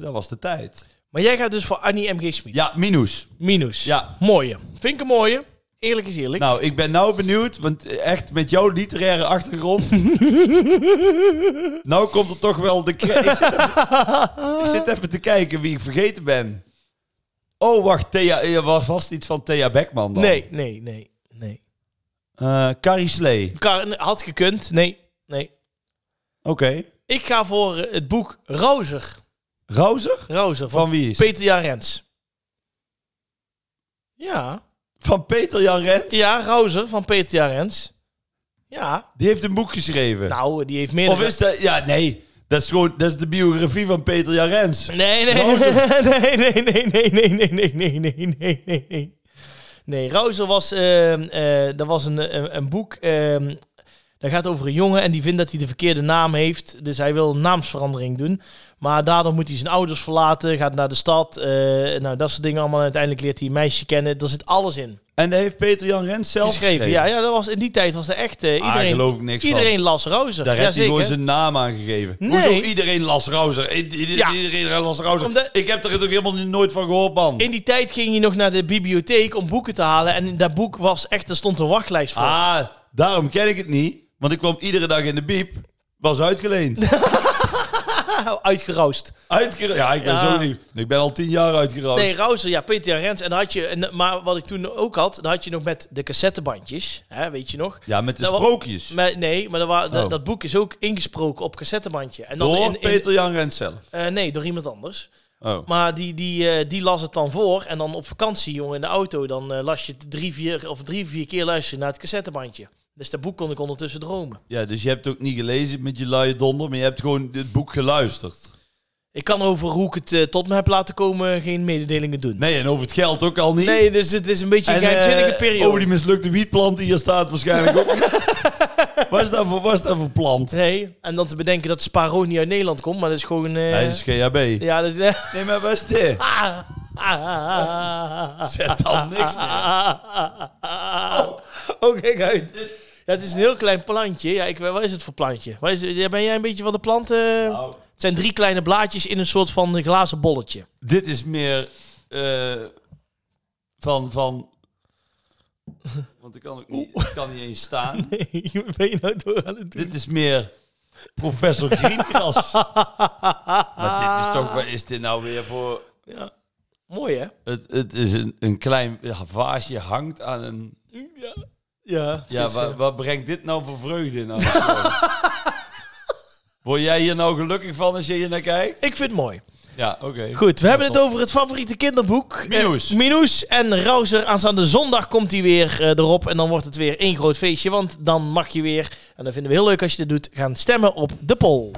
dat was de tijd.
Maar jij gaat dus voor Annie M.G. Smit.
Ja, Minus.
Minus.
Ja.
Mooie. Vind ik een mooie. Eerlijk is eerlijk.
Nou, ik ben nou benieuwd, want echt met jouw literaire achtergrond. nou komt er toch wel de. kre- Ik zit, even, ik zit even te kijken wie ik vergeten ben. Oh, wacht, Thea, er was vast iets van Thea Beckman dan.
nee, nee, nee, nee.
Eh, Carrie Slee.
Kar- had gekund. Nee, nee.
Oké.
Ik ga voor eh, het boek Rozer.
Rozer?
Rozer van,
Van wie is?
Peter Jan Rens. Ja.
van Peter Jan Rens.
Ja, Rozer van Peter Jan Rens. Ja.
Die heeft een boek geschreven.
Nou, die heeft meer.
of is dat. Ja, nee. Dat is gewoon. Dat is de biografie van Peter Jan Rens.
Nee, nee,
Rozer.
nee, nee, nee, nee, nee, nee, nee, nee, nee, nee, nee, nee. Nee, Rozer was, ehm, eh, dat was een, een, een boek, ehm, dat gaat over een jongen en die vindt dat hij de verkeerde naam heeft. Dus hij wil een naamsverandering doen. Maar daardoor moet hij zijn ouders verlaten, gaat naar de stad. eh, nou, dat soort dingen allemaal. Uiteindelijk leert hij een meisje kennen. Daar zit alles in.
En daar heeft Peter Jan Rens zelf geschreven.
Geschreven. Ja, ja dat was, in die tijd was er echt, eh,
Ah,
iedereen,
geloof ik niks van.
iedereen las Rozer.
Daar
ja,
heeft hij gewoon
zeker.
zijn naam aan gegeven.
Nee.
Hoezo iedereen Las Rozer? I- i-
Ja.
Iedereen Las Rozer.
Omdat-
Ik heb er toch helemaal niet- nooit van gehoord, man.
In die tijd ging je nog naar de bibliotheek om boeken te halen. En dat boek was echt, er stond een wachtlijst voor.
Ah, daarom ken ik het niet. Want ik kwam iedere dag in de biep. Was uitgeleend.
Uitgeroost.
Uitgere ja, ik ben
Ja.
zo niet. Ik ben al tien jaar uitgeroofd.
Nee, Rauzer, ja, Peter Rens. En dan had je, en, maar wat ik toen ook had, dan had je nog met de cassettebandjes. Hè, weet je nog?
ja, met de
Dat Nou, wa-
sprookjes.
Maar, nee, maar dat, wa- dat-
Oh.
dat boek is ook ingesproken op cassettebandje. En dan
Door
nou, in- in-
Peter Jan Rens zelf.
eh, nee, door iemand anders.
Oh.
Maar die, die, eh, die las het dan voor. En dan op vakantie, jongen, in de auto, dan eh, las je het drie, vier of drie, vier keer luisteren naar het cassettebandje. Dus dat boek kon ik ondertussen dromen.
Ja, dus je hebt het ook niet gelezen met je luie donder. Maar je hebt gewoon het boek geluisterd.
Ik kan over hoe ik het eh, tot me heb laten komen geen mededelingen doen.
Nee, en over het geld ook al niet.
Nee, dus het is een beetje een
En, eh,
geheimzinnige periode.
Over die mislukte wietplant die hier staat waarschijnlijk ook. niet. Wat is dat voor, wat is dat voor plant?
Nee, en dan te bedenken dat Sparrow niet uit Nederland komt, maar dat is gewoon... eh,
Nee, dat is GHB.
Ja, dat is...
Nee, maar wat is dit?
Ah, ah,
Zet al niks neer.
Oh, kijk uit. Ja, het is een heel klein plantje. Ja, ik, wat is het voor plantje? Wat is, ja, ben jij een beetje van de planten?
Nou,
Het zijn drie kleine blaadjes in een soort van glazen bolletje.
dit is meer eh, van, van... Want ik kan, ook niet, ik kan niet eens staan.
Wat ben je nou door aan het doen?
Dit is meer professor Greengrass. maar dit is toch... Wat is dit nou weer voor...
Ja. Mooi, hè?
Het, het is een, een klein vaasje hangt aan een...
Ja. Ja, het
Ja,
is,
wat,
eh,
wat brengt dit nou voor vreugde in? Nou? Word jij hier nou gelukkig van als je hier naar kijkt?
ik vind het mooi.
Ja, oké.
Goed, we hebben het
top.
over het favoriete kinderboek.
Minoes.
Eh, Minoes en Rouser. Aanstaande zondag komt hij weer eh, erop. En dan wordt het weer één groot feestje. Want dan mag je weer, en dat vinden we heel leuk als je dit doet, gaan stemmen op de poll.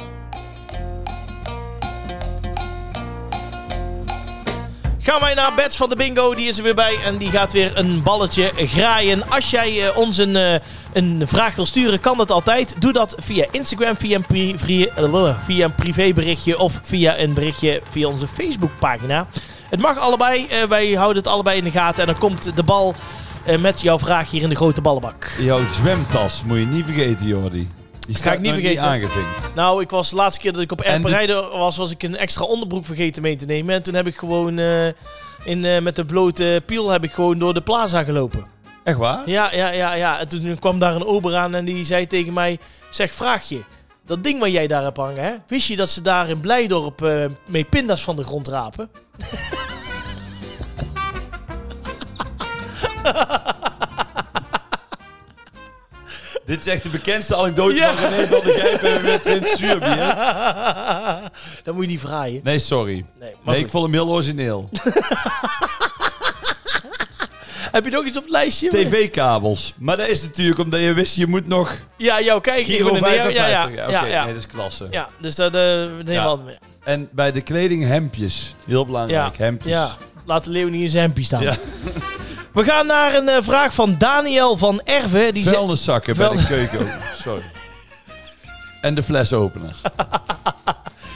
Gaan wij naar Bets van de Bingo, die is er weer bij en die gaat weer een balletje graaien. Als jij eh, ons een, eh, een vraag wil sturen, kan dat altijd. Doe dat via Instagram, via een, pri- vri- eh, via een privéberichtje of via een berichtje via onze Facebookpagina. Het mag allebei, eh, wij houden het allebei in de gaten en dan komt de bal eh, met jouw vraag hier in de grote ballenbak.
Jouw zwemtas moet je niet vergeten, Jordi. Die staat
ik niet
nog
vergeten.
aangevinkt.
Nou, ik was de laatste keer dat ik op
En de-
Erperijden was, was ik een extra onderbroek vergeten mee te nemen. En toen heb ik gewoon eh, in, eh, met de blote piel heb ik gewoon door de plaza gelopen.
Echt waar?
Ja, ja, ja, ja. En toen kwam daar een ober aan en die zei tegen mij... Zeg, vraag je, dat ding waar jij daar hebt hangen, hè? Wist je dat ze daar in Blijdorp eh, mee pindas van de grond rapen?
Dit is echt de bekendste anekdote
Ja.
van René van de Gijpen met Twint Zuurbier.
dat moet je niet vraaien.
Nee, sorry.
Nee, maar
Nee, ik
goed.
vond hem heel origineel.
Heb je nog iets op het lijstje?
TV-kabels. Maar dat is natuurlijk omdat je wist, je moet nog
Ja, jouw kijker.
Giro
ik ben er neer.
55. Ja,
Ja, ja,
oké.
ja, ja.
Nee, dat is klasse.
Ja, dus dat eh, we nemen
Ja.
we altijd mee.
En bij de kleding hempjes. Heel belangrijk, hempjes.
Ja, laat de leeuw niet in zijn hempje staan.
Ja.
We gaan naar een eh, vraag van Daniel van Erven. Die zegt,
Vuilniszakken bij de keuken. ook. Sorry. En de flesopener.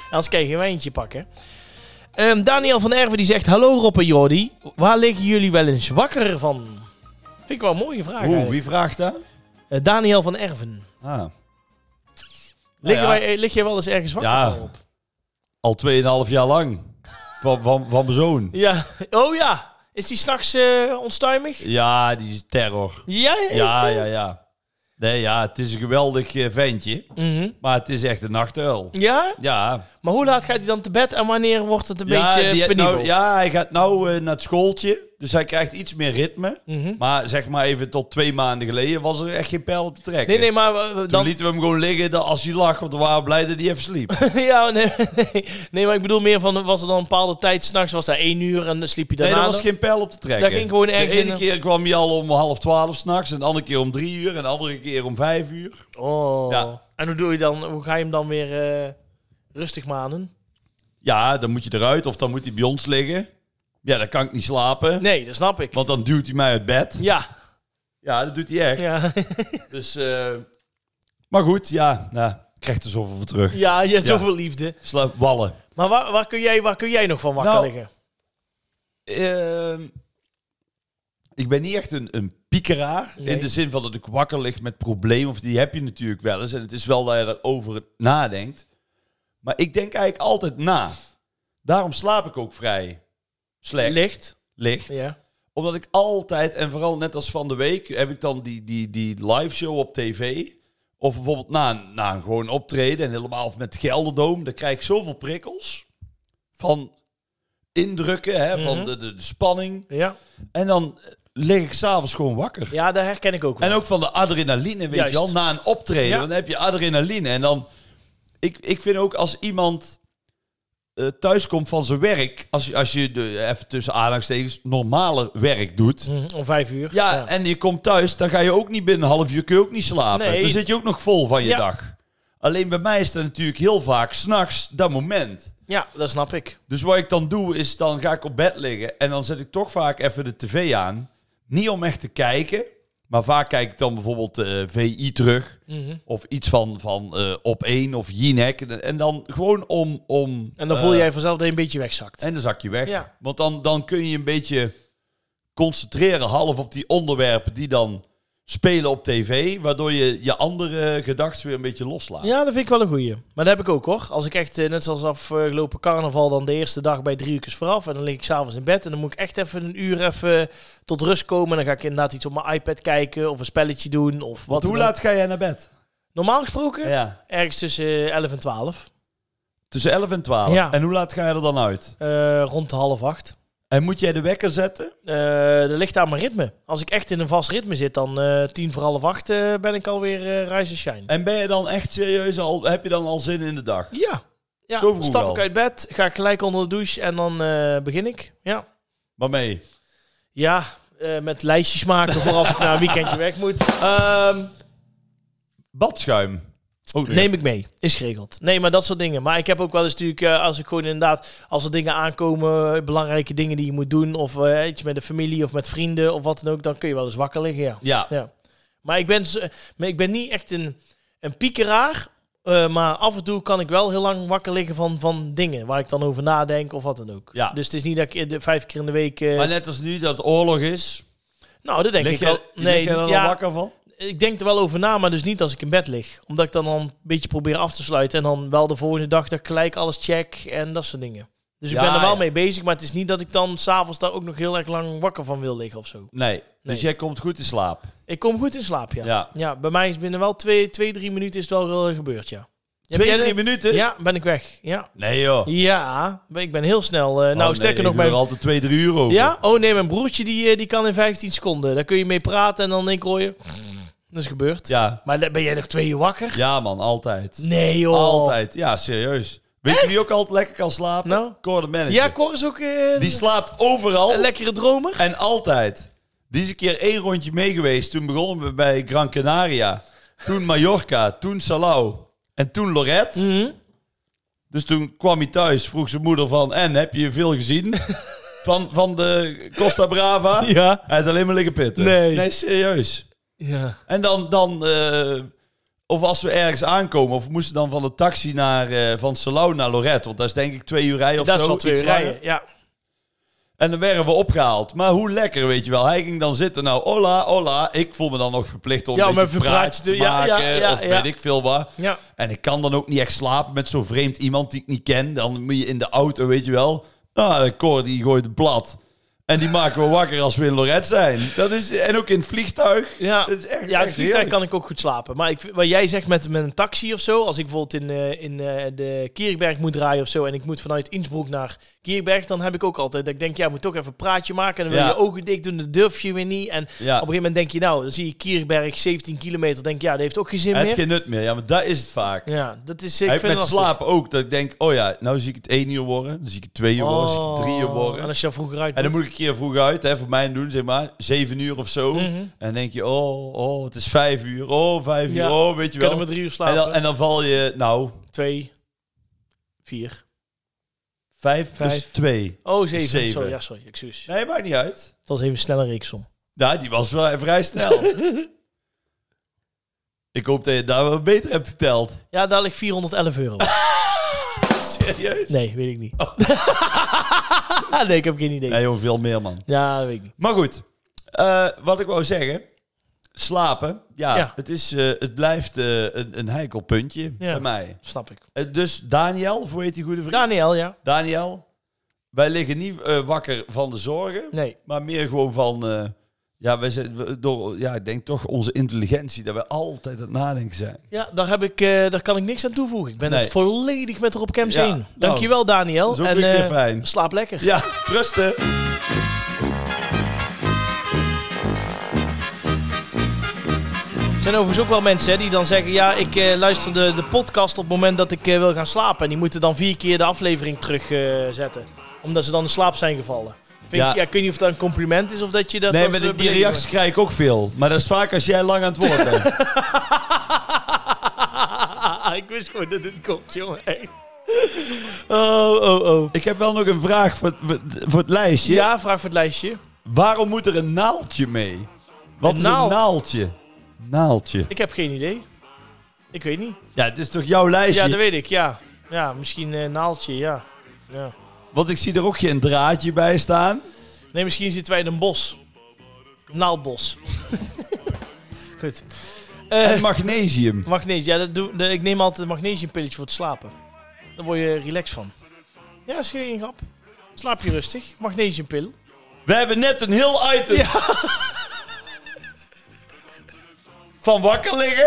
anders kan je geen wijntje pakken. Ehm, Daniel van Erven die zegt, hallo Rob en Jordi. Waar liggen jullie wel eens wakker van? Vind ik wel een mooie vraag.
Oeh,
eigenlijk.
wie vraagt dat?
Eh, Daniel van Erven.
Ah. Nou
Liggen
ja,
wij, eh, lig jij wel eens ergens wakker
Ja.
van, Rob?
Al 2,5 jaar lang. Van, van, van mijn zoon.
Ja. Oh ja. Is die s'nachts eh onstuimig?
Ja, die is terror.
Ja.
Ja, ja, ja. Nee, ja, het is een geweldig eh, ventje.
Mhm.
Maar het is echt een nachtuil.
Ja?
Ja.
Maar hoe laat gaat hij dan te bed en wanneer wordt het een
ja,
beetje
die-
penibel?
nou, ja, hij gaat nou eh, naar het schooltje. Dus hij krijgt iets meer ritme.
Mhm.
Maar zeg maar even tot twee maanden geleden was er echt geen pijl op te trekken.
Nee, nee, maar eh,
Toen
dan...
lieten we hem gewoon liggen dat als hij lag. Want we waren blij dat hij even sliep.
ja, nee, nee, nee, maar ik bedoel meer van, was er dan een bepaalde tijd s'nachts, was dat één uur en dan sliep je
Nee,
daarna
er was
nog?
geen pijl op te trekken.
Daar ging gewoon ergens
De ene
in-
keer kwam hij al om half twaalf s'nachts. En de andere keer om drie uur. En de andere keer om vijf uur.
Oh.
Ja.
En hoe doe je dan, hoe ga je hem dan weer eh, rustig manen?
Ja, dan moet je eruit. Of dan moet hij bij ons liggen. Ja, dan kan ik niet slapen.
Nee, dat snap ik.
Want dan duwt hij mij uit bed.
Ja.
Ja, dat doet hij echt.
Ja,
Dus, eh, maar goed, ja. Nou, krijgt er zoveel voor terug.
ja je hebt
Ja.
zoveel liefde.
Sla wallen.
Maar waar, waar, kun jij, waar kun jij nog van wakker
Nou,
liggen?
Ehm, ik ben niet echt een, een piekeraar.
Nee.
In de zin van dat ik wakker lig met problemen. Of die heb je natuurlijk wel eens. En het is wel dat je erover nadenkt. Maar ik denk eigenlijk altijd na. Daarom slaap ik ook vrij slecht.
Licht.
licht.
Ja.
Omdat ik altijd, en vooral net als van de week, heb ik dan die, die, die live show op tv. Of bijvoorbeeld na, een- na een gewoon optreden en helemaal met Gelderdoom. Dan krijg ik zoveel prikkels van indrukken, hè, van
Mhm.
de, de, de spanning.
Ja.
En dan eh, lig ik s'avonds gewoon wakker.
ja, dat herken ik ook wel.
En ook van de adrenaline, weet
Juist.
je wel. Na een optreden,
Ja.
dan heb je adrenaline. En dan, ik, ik vind ook als iemand eh, thuis thuiskomt van zijn werk... Als, je- als je de, even tussen aanhalingstekens normale werk doet...
Mhm, Om vijf uur.
Ja, en je komt thuis, dan ga je ook niet binnen een half uur, kun je ook niet slapen.
Nee.
Dan zit je ook nog vol van je
Ja.
dag. Alleen bij mij is dat natuurlijk heel vaak s'nachts dat moment.
ja, dat snap ik.
Dus wat ik dan doe, is dan ga ik op bed liggen en dan zet ik toch vaak even de tv aan. Niet om echt te kijken, maar vaak kijk ik dan bijvoorbeeld eh, VI terug.
Mhm.
Of iets van, van eh, Op 1 of Jinek. En- En dan gewoon om... om
En dan
eh,
voel jij vanzelf dat je een beetje wegzakt.
en dan zak je weg.
Ja.
Want dan, dan kun je een beetje concentreren half op die onderwerpen die dan spelen op tv. Waardoor je je andere gedachten weer een beetje loslaat.
Ja, dat vind ik wel een goeie. Maar dat heb ik ook hoor. Als ik echt, eh, net zoals afgelopen carnaval, dan de eerste dag bij drie uur vooraf. En dan lig ik s'avonds in bed. En dan moet ik echt even een uur even tot rust komen. En dan ga ik inderdaad iets op mijn iPad kijken. Of een spelletje doen. Of wat
Want hoe
dan ook.
laat ga jij naar bed?
Normaal gesproken?
Ja.
Ergens tussen eh, 11 en 12.
Tussen 11 en 12.
Ja.
En hoe laat ga je er dan uit?
Eh, rond de half acht.
En moet jij de wekker zetten?
Eh, dat ligt aan mijn ritme. Als ik echt in een vast ritme zit, dan eh, tien voor half acht eh, ben ik alweer eh rise and shine.
En ben je dan echt serieus al, heb je dan al zin in de dag?
Ja. ja.
Zo vroeg
stap
al.
ik uit bed, ga ik gelijk onder de douche en dan eh, begin ik. Ja.
Waarmee?
Ja, eh, met lijstjes maken voor als ik na een weekendje weg moet. Ehm,
Badschuim. Oh, Ook nog
neem ik mee. Is geregeld. Nee, maar dat soort dingen. Maar ik heb ook wel eens natuurlijk, eh, als ik gewoon inderdaad, als er dingen aankomen, eh, belangrijke dingen die je moet doen, of eh, iets met de familie of met vrienden of wat dan ook, dan kun je wel eens wakker liggen, ja.
Ja.
ja. Maar, ik ben, z- maar ik ben niet echt een, een piekeraar, eh, maar af en toe kan ik wel heel lang wakker liggen van, van dingen waar ik dan over nadenk of wat dan ook.
Ja.
Dus het is niet dat ik eh, de, vijf keer in de week... eh,
Maar net als nu dat het oorlog is,
nou, dat denk
lig
ik
je,
wel.
lig je er dan
ja,
wakker van?
ik denk er wel over na, maar dus niet als ik in bed lig. Omdat ik dan, dan een beetje probeer af te sluiten. En dan wel de volgende dag dat ik gelijk alles check en dat soort dingen. Dus ik
Ja,
ben er wel
ja.
mee bezig, maar het is niet dat ik dan s'avonds daar ook nog heel erg lang wakker van wil liggen of zo.
Nee.
Nee.
Dus jij komt goed in slaap.
Ik kom goed in slaap, ja.
Ja.
bij mij is binnen wel twee, twee drie minuten is het wel wel gebeurd, ja. Heb
Twee,
jij
drie
de-
minuten?
Ja, ben ik weg. Ja,
Nee joh.
ja ben- ik ben heel snel. eh, nou,
Oh, nee,
sterker nog,
Ik doe
mijn...
er altijd twee, drie uur over.
Ja? Oh nee, mijn broertje die, eh, die kan in 15 seconden. Daar kun je mee praten en dan denk ik hoor je... Dat is gebeurd.
Ja.
Maar dan ben jij nog twee uur wakker?
Ja, man. Altijd.
Nee joh.
Altijd. Ja, serieus. Weet je wie ook altijd lekker kan slapen?
Nou?
Cor de manager.
Ja, Cor is ook eh,
Die slaapt overal
een lekkere dromer.
en altijd. Die is een keer één rondje mee geweest. Toen begonnen we bij Gran Canaria. Toen Mallorca. Toen Salau. En toen Lorette.
Mhm.
Dus toen kwam hij thuis. Vroeg zijn moeder van... En, heb je veel gezien? Van, van de Costa Brava?
Ja.
Hij had alleen maar liggen pitten.
Nee.
Nee, serieus.
Ja.
En dan, dan eh, of als we ergens aankomen, of we moesten dan van de taxi naar, eh, van Salau naar Lorette, want dat is denk ik twee uur rijden of
Dat
zo.
is al twee
iets
uur
langer.
rijden. Ja.
En dan werden we opgehaald. Maar hoe lekker, weet je wel. Hij ging dan zitten, nou, hola, hola. Ik voel me dan nog verplicht om
Ja,
een
om
beetje
even een
praatje te
praatje te- ja,
maken,
ja, ja,
of
ja.
weet ik veel wat.
ja.
En ik kan dan ook niet echt slapen met zo'n vreemd iemand die ik niet ken. Dan moet je in de auto, weet je wel. Nou, de Cor die gooit het blad. En die maken we wakker als we in Lorette zijn. Dat is, en ook in het vliegtuig.
Ja,
Dat is echt-
ja in
echt
vliegtuig
heerlijk.
kan ik ook goed slapen. Maar ik, wat jij zegt met, met een taxi of zo, als ik bijvoorbeeld in, eh, in eh, de Kierberg moet draaien of zo en ik moet vanuit Innsbruck naar Kierberg, dan heb ik ook altijd dat ik denk, ja, ik moet toch even een praatje maken. En dan wil
Ja.
je ogen dicht doen, dat durf je weer niet. En op een
Ja.
gegeven moment denk je, nou, dan zie je Kierberg 17 kilometer, denk je, ja, dat heeft ook geen zin
Het
meer.
heeft geen nut meer. Ja, maar dat is het vaak.
Ja, dat is
Hij
ik
heeft
vind
met
het lastig.
slaap ook. Dat ik denk, oh ja, nou zie ik het één uur worden. Dan zie ik het twee uur worden. Dan zie ik het drie uur
Oh, En
worden.
als je dan vroeger uit
En dan
moet.
moet ik een keer vroeg uit, hè, voor mij doen, zeg maar, zeven uur of zo.
Mhm.
En dan denk je, oh, oh, het is vijf uur, oh, vijf
Ja,
uur, oh, weet je wel.
kunnen we drie uur
en,
slapen.
dan, en dan val je, nou,
Twee, vier.
vijf, plus
Vijf.
twee.
Oh, zeven.
Zeven.
Sorry, ja, sorry, excuus.
Nee, maakt niet uit.
Het was even een snelle reeksom.
Nou, die was wel vrij snel. ik hoop dat je daar wel beter hebt geteld.
Ja, daar ligt 411 euro.
Serieus?
Nee, weet ik niet. nee, ik heb geen idee.
Oh. Nee, joh, veel meer, man.
Ja, weet ik niet.
Maar goed, eh, wat ik wou zeggen. Slapen, ja,
Ja.
Het, is, eh, het blijft eh, een, een heikel puntje bij mij.
Snap ik.
Eh, dus Daniel, of hoe heet die goede vriend?
Daniel, ja.
Daniel, wij liggen niet eh, wakker van de zorgen,
Nee.
maar meer gewoon van... eh, ja, wij zijn, we- door, ja, ik denk toch onze intelligentie, dat wij altijd aan het nadenken zijn.
Ja, daar, heb ik, eh, daar kan ik niks aan toevoegen. Ik ben
Nee.
het volledig met Rob Kemps
Ja,
heen.
nou,
Dankjewel, Daniel.
dat is ook
en
weer een
eh,
keer fijn.
slaap lekker.
Ja, trusten.
Er zijn overigens ook wel mensen hè, die dan zeggen... Ja, ik eh, luister de, de podcast op het moment dat ik eh, wil gaan slapen. En die moeten dan vier keer de aflevering terugzetten. omdat ze dan in slaap zijn gevallen. Vind
Ja.
Ik, ja, ik weet niet of dat een compliment is of dat je dat...
nee,
als,
maar
eh,
die, die
belediging-
reacties krijg ik ook veel. Maar dat is vaak als jij lang aan het woord bent.
ik wist gewoon dat dit komt, jongen. Hey. Oh, oh, oh.
ik heb wel nog een vraag voor, het- voor het lijstje.
Ja, vraag voor het lijstje.
Waarom moet er een naaldje mee? Wat
Een
is
naald?
een naaldje? Naaldje.
Ik heb geen idee. Ik weet niet.
Ja, het is toch jouw lijstje?
Ja, dat weet ik, ja. Ja, misschien een naaldje, ja. ja.
Want ik zie er ook geen draadje bij staan.
Nee, misschien zitten wij in een bos. Naaldbos. Goed. Eh,
En magnesium.
magnesium. Ja, dat doe, dat- ik neem altijd een magnesiumpilletje voor het slapen. Daar word je relaxed van. Ja, is geen grap. Slaap je rustig. Magnesiumpil.
We hebben net een heel item.
Ja.
Van wakker liggen.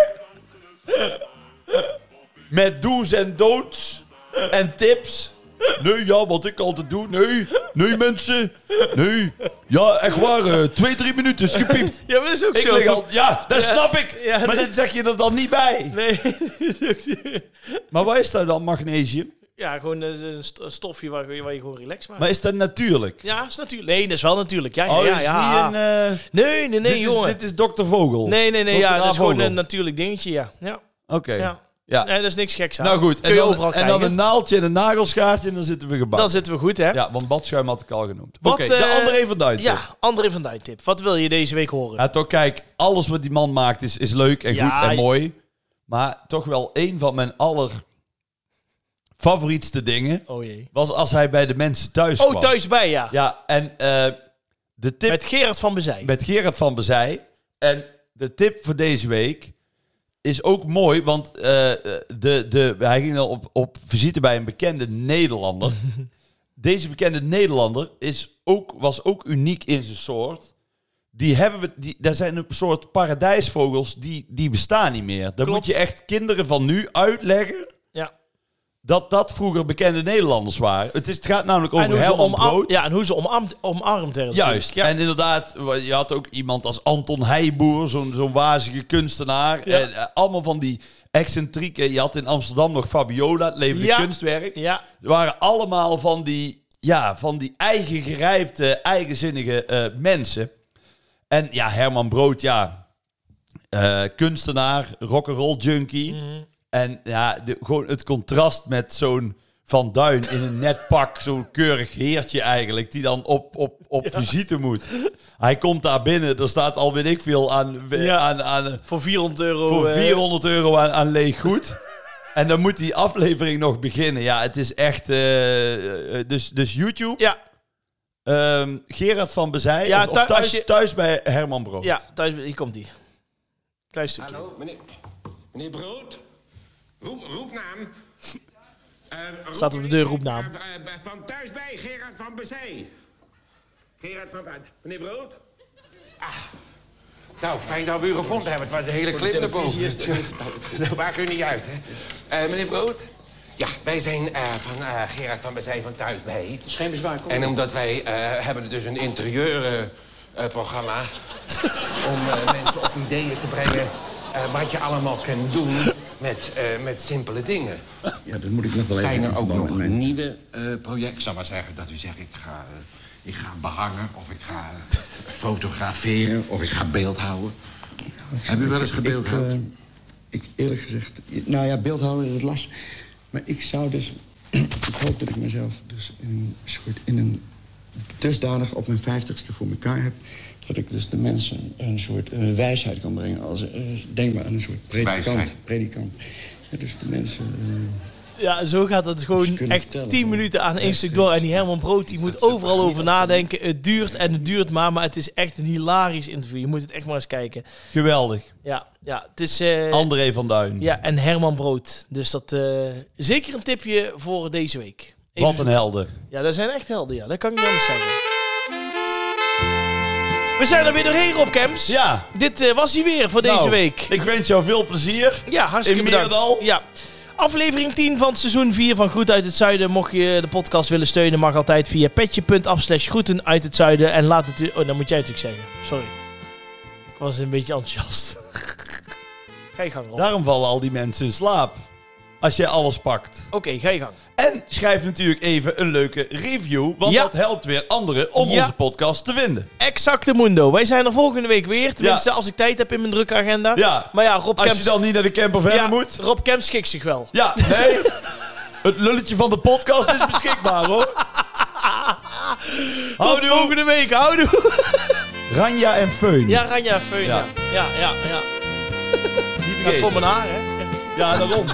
Met do's en don'ts. En tips. Nee, ja, wat ik altijd doe. Nee, nee mensen. Nee. Ja, echt waar. eh, twee, drie minuten is gepiept.
Ja, maar dat is ook
Ik lig al, ja, dat
Ja.
snap ik.
Ja,
maar
nee.
dat zeg je er dan niet bij.
Nee, dat is ook-
Maar waar is dat dan, magnesium?
Ja, gewoon eh, een st- een stofje waar, waar je gewoon relax maakt.
Maar is dat natuurlijk?
Ja, is natuurlijk. Nee, dat is wel natuurlijk. Ja, ja,
Oh,
ja.
dat is
ja.
niet een... eh,
Nee, nee, nee,
dit
jongen.
Is, dit is dokter Vogel.
Nee, nee, nee.
Dr.
Ja, dat is gewoon
Vogel.
een natuurlijk dingetje, ja. Ja,
Oké.
ja.
Ja.
Nee, dat is niks geks aan.
Nou goed,
Kun
en
je
dan,
overal
en
krijgen.
dan een naaltje en een nagelschaartje en dan zitten we
Dan
gebakken.
zitten we goed, hè? Ja,
Ja, want badschuim had ik al genoemd. Oké,
Wat,
de
eh,
André van Duitse. Ja.
André van Duin tip. Wat wil je deze week horen?
toch, kijk, alles wat die man maakt is, is leuk en
Ja,
goed en
je-
mooi. Maar toch wel een van mijn aller favorietste dingen
Oh jee.
was als hij bij de mensen thuis
Oh,
kwam.
thuis bij, ja.
Ja, en eh, de tip
Met Gerard van Bezijn.
met Gerard van Bezij. En de tip voor deze week is ook mooi, want eh, de, de, hij ging dan op, op visite bij een bekende Nederlander. Deze bekende Nederlander is ook, was ook uniek in zijn soort. Die hebben we, die, daar zijn een soort paradijsvogels die, die bestaan niet meer. Dan
Klopt.
moet je echt kinderen van nu uitleggen
Ja.
dat dat vroeger bekende Nederlanders waren. Het, is, het gaat namelijk
En
over
hoe, ze
hel en
omarm,
brood.
ja, en hoe ze omarmd, omarmd werden.
Juist.
natuurlijk.
En inderdaad, wa- je had ook iemand als Anton Heijboer, zo'n zo'n wazige kunstenaar.
Ja.
En, eh, allemaal van die excentrieke. Je had in Amsterdam nog Fabiola, het levende
Ja.
kunstwerk.
Ja. ja.
Het waren allemaal van die, ja, van die eigen gerijpte, eigenzinnige eh, mensen. En ja, Herman Brood, ja, eh, kunstenaar, rock'n'roll junkie. En ja, de, gewoon het contrast met zo'n Van Duin in een net pak, zo'n keurig heertje eigenlijk, die dan op, op, op visite moet. Hij komt daar binnen, er staat al weet ik veel aan,
Ja.
aan, aan
Voor 400 euro.
voor
eh,
400 euro aan, aan leeg goed. en dan moet die aflevering nog beginnen. Ja, het is echt. eh, eh, dus, dus YouTube.
Ja,
ehm, Gerard van Bezij.
Ja,
of- of
thui-
thuis,
als je-
thuis bij Herman Brood.
ja thuis, hier komt die. Klein stukje.
Hallo, meneer, meneer Brood. Roep, roepnaam. Eh, roep-
Staat op de deur, roepnaam.
Eh, eh, van thuis bij Gerard van Bezij. Gerard van Bezij. Meneer Brood? Ah. Nou, fijn dat we u gevonden hebben. Het was een hele klip erboven. Dat maakt u niet uit, hè? Eh, meneer Brood? Ja, wij zijn eh, van eh, Gerard van Bezij van thuis bij.
Geen bezwaar, kom.
En omdat wij eh, hebben dus een eh, interieurprogramma... om eh, mensen op ideeën te brengen eh, wat je allemaal kunt doen met, eh, met simpele dingen.
Ja, dat moet ik nog wel even...
Zijn er ook nog
Mijn-
nieuwe eh, projecten? Ik zou maar zeggen dat u zegt, ik ga, eh, ik ga behangen... of ik ga eh, fotograferen of ik ga beeldhouden. Hebben u wel eens
Ik, eh,
gebeeldhouwd?
ik eerlijk gezegd... Nou ja, beeldhouden, dat las. Maar ik zou dus... ik hoop dat ik mezelf dus in een soort... In een dusdanig op mijn vijftigste voor elkaar heb... dat ik dus de mensen een soort eh, wijsheid kan brengen. Als, eh, denk maar aan een soort predikant.
Wijsheid.
predikant. Ja, dus de mensen... eh,
Ja, zo gaat het
Ze
gewoon
kunnen
echt
vertellen,
10
man.
minuten aan één stuk door. En die Herman Brood die moet overal over nadenken. Het duurt en het duurt maar, maar het is echt een hilarisch interview. Je moet het echt maar eens kijken.
Geweldig.
Ja, ja het is... eh,
André van Duin.
ja, en Herman Brood. Dus dat eh, zeker een tipje voor deze week. Even-
Wat een helden.
Ja, dat zijn echt helden, ja. Dat kan ik niet anders zeggen. We zijn er weer doorheen, Rob Kemps.
Ja.
Dit eh, was hij weer voor deze
Nou,
week.
Ik wens jou veel plezier.
Ja, hartstikke
In
bedankt.
Merendal?
Ja. Aflevering 10 van seizoen 4 van Groet uit het Zuiden. Mocht je de podcast willen steunen, mag altijd via petje.af slash groeten uit het zuiden. En laat het... Oh, dan moet jij het ook zeggen. Sorry. Ik was een beetje enthousiast. ga je gang, Rob.
Daarom vallen al die mensen in slaap. Als jij alles pakt.
Oké, ga je gang.
En schrijf natuurlijk even een leuke review. Want
Ja.
dat helpt weer anderen om
Ja.
onze podcast te vinden.
Exacte Mundo. Wij zijn er volgende week weer. Tenminste,
Ja.
als ik tijd heb in mijn drukke agenda.
Ja.
Maar ja, Rob
Als
Kemps...
je dan niet naar de camper verder
ja,
moet.
Rob Kemps schikt zich wel.
Ja, nee. Het lulletje van de podcast is beschikbaar hoor.
Tot
Houdoe.
volgende week. Houdoe.
Ranja en Feun.
Ja, Ranja Feun. Ja,
Ja.
ja, ja. ja.
Niet
Dat is voor mijn
vergeten.
haar, hè.
Ja, daarom.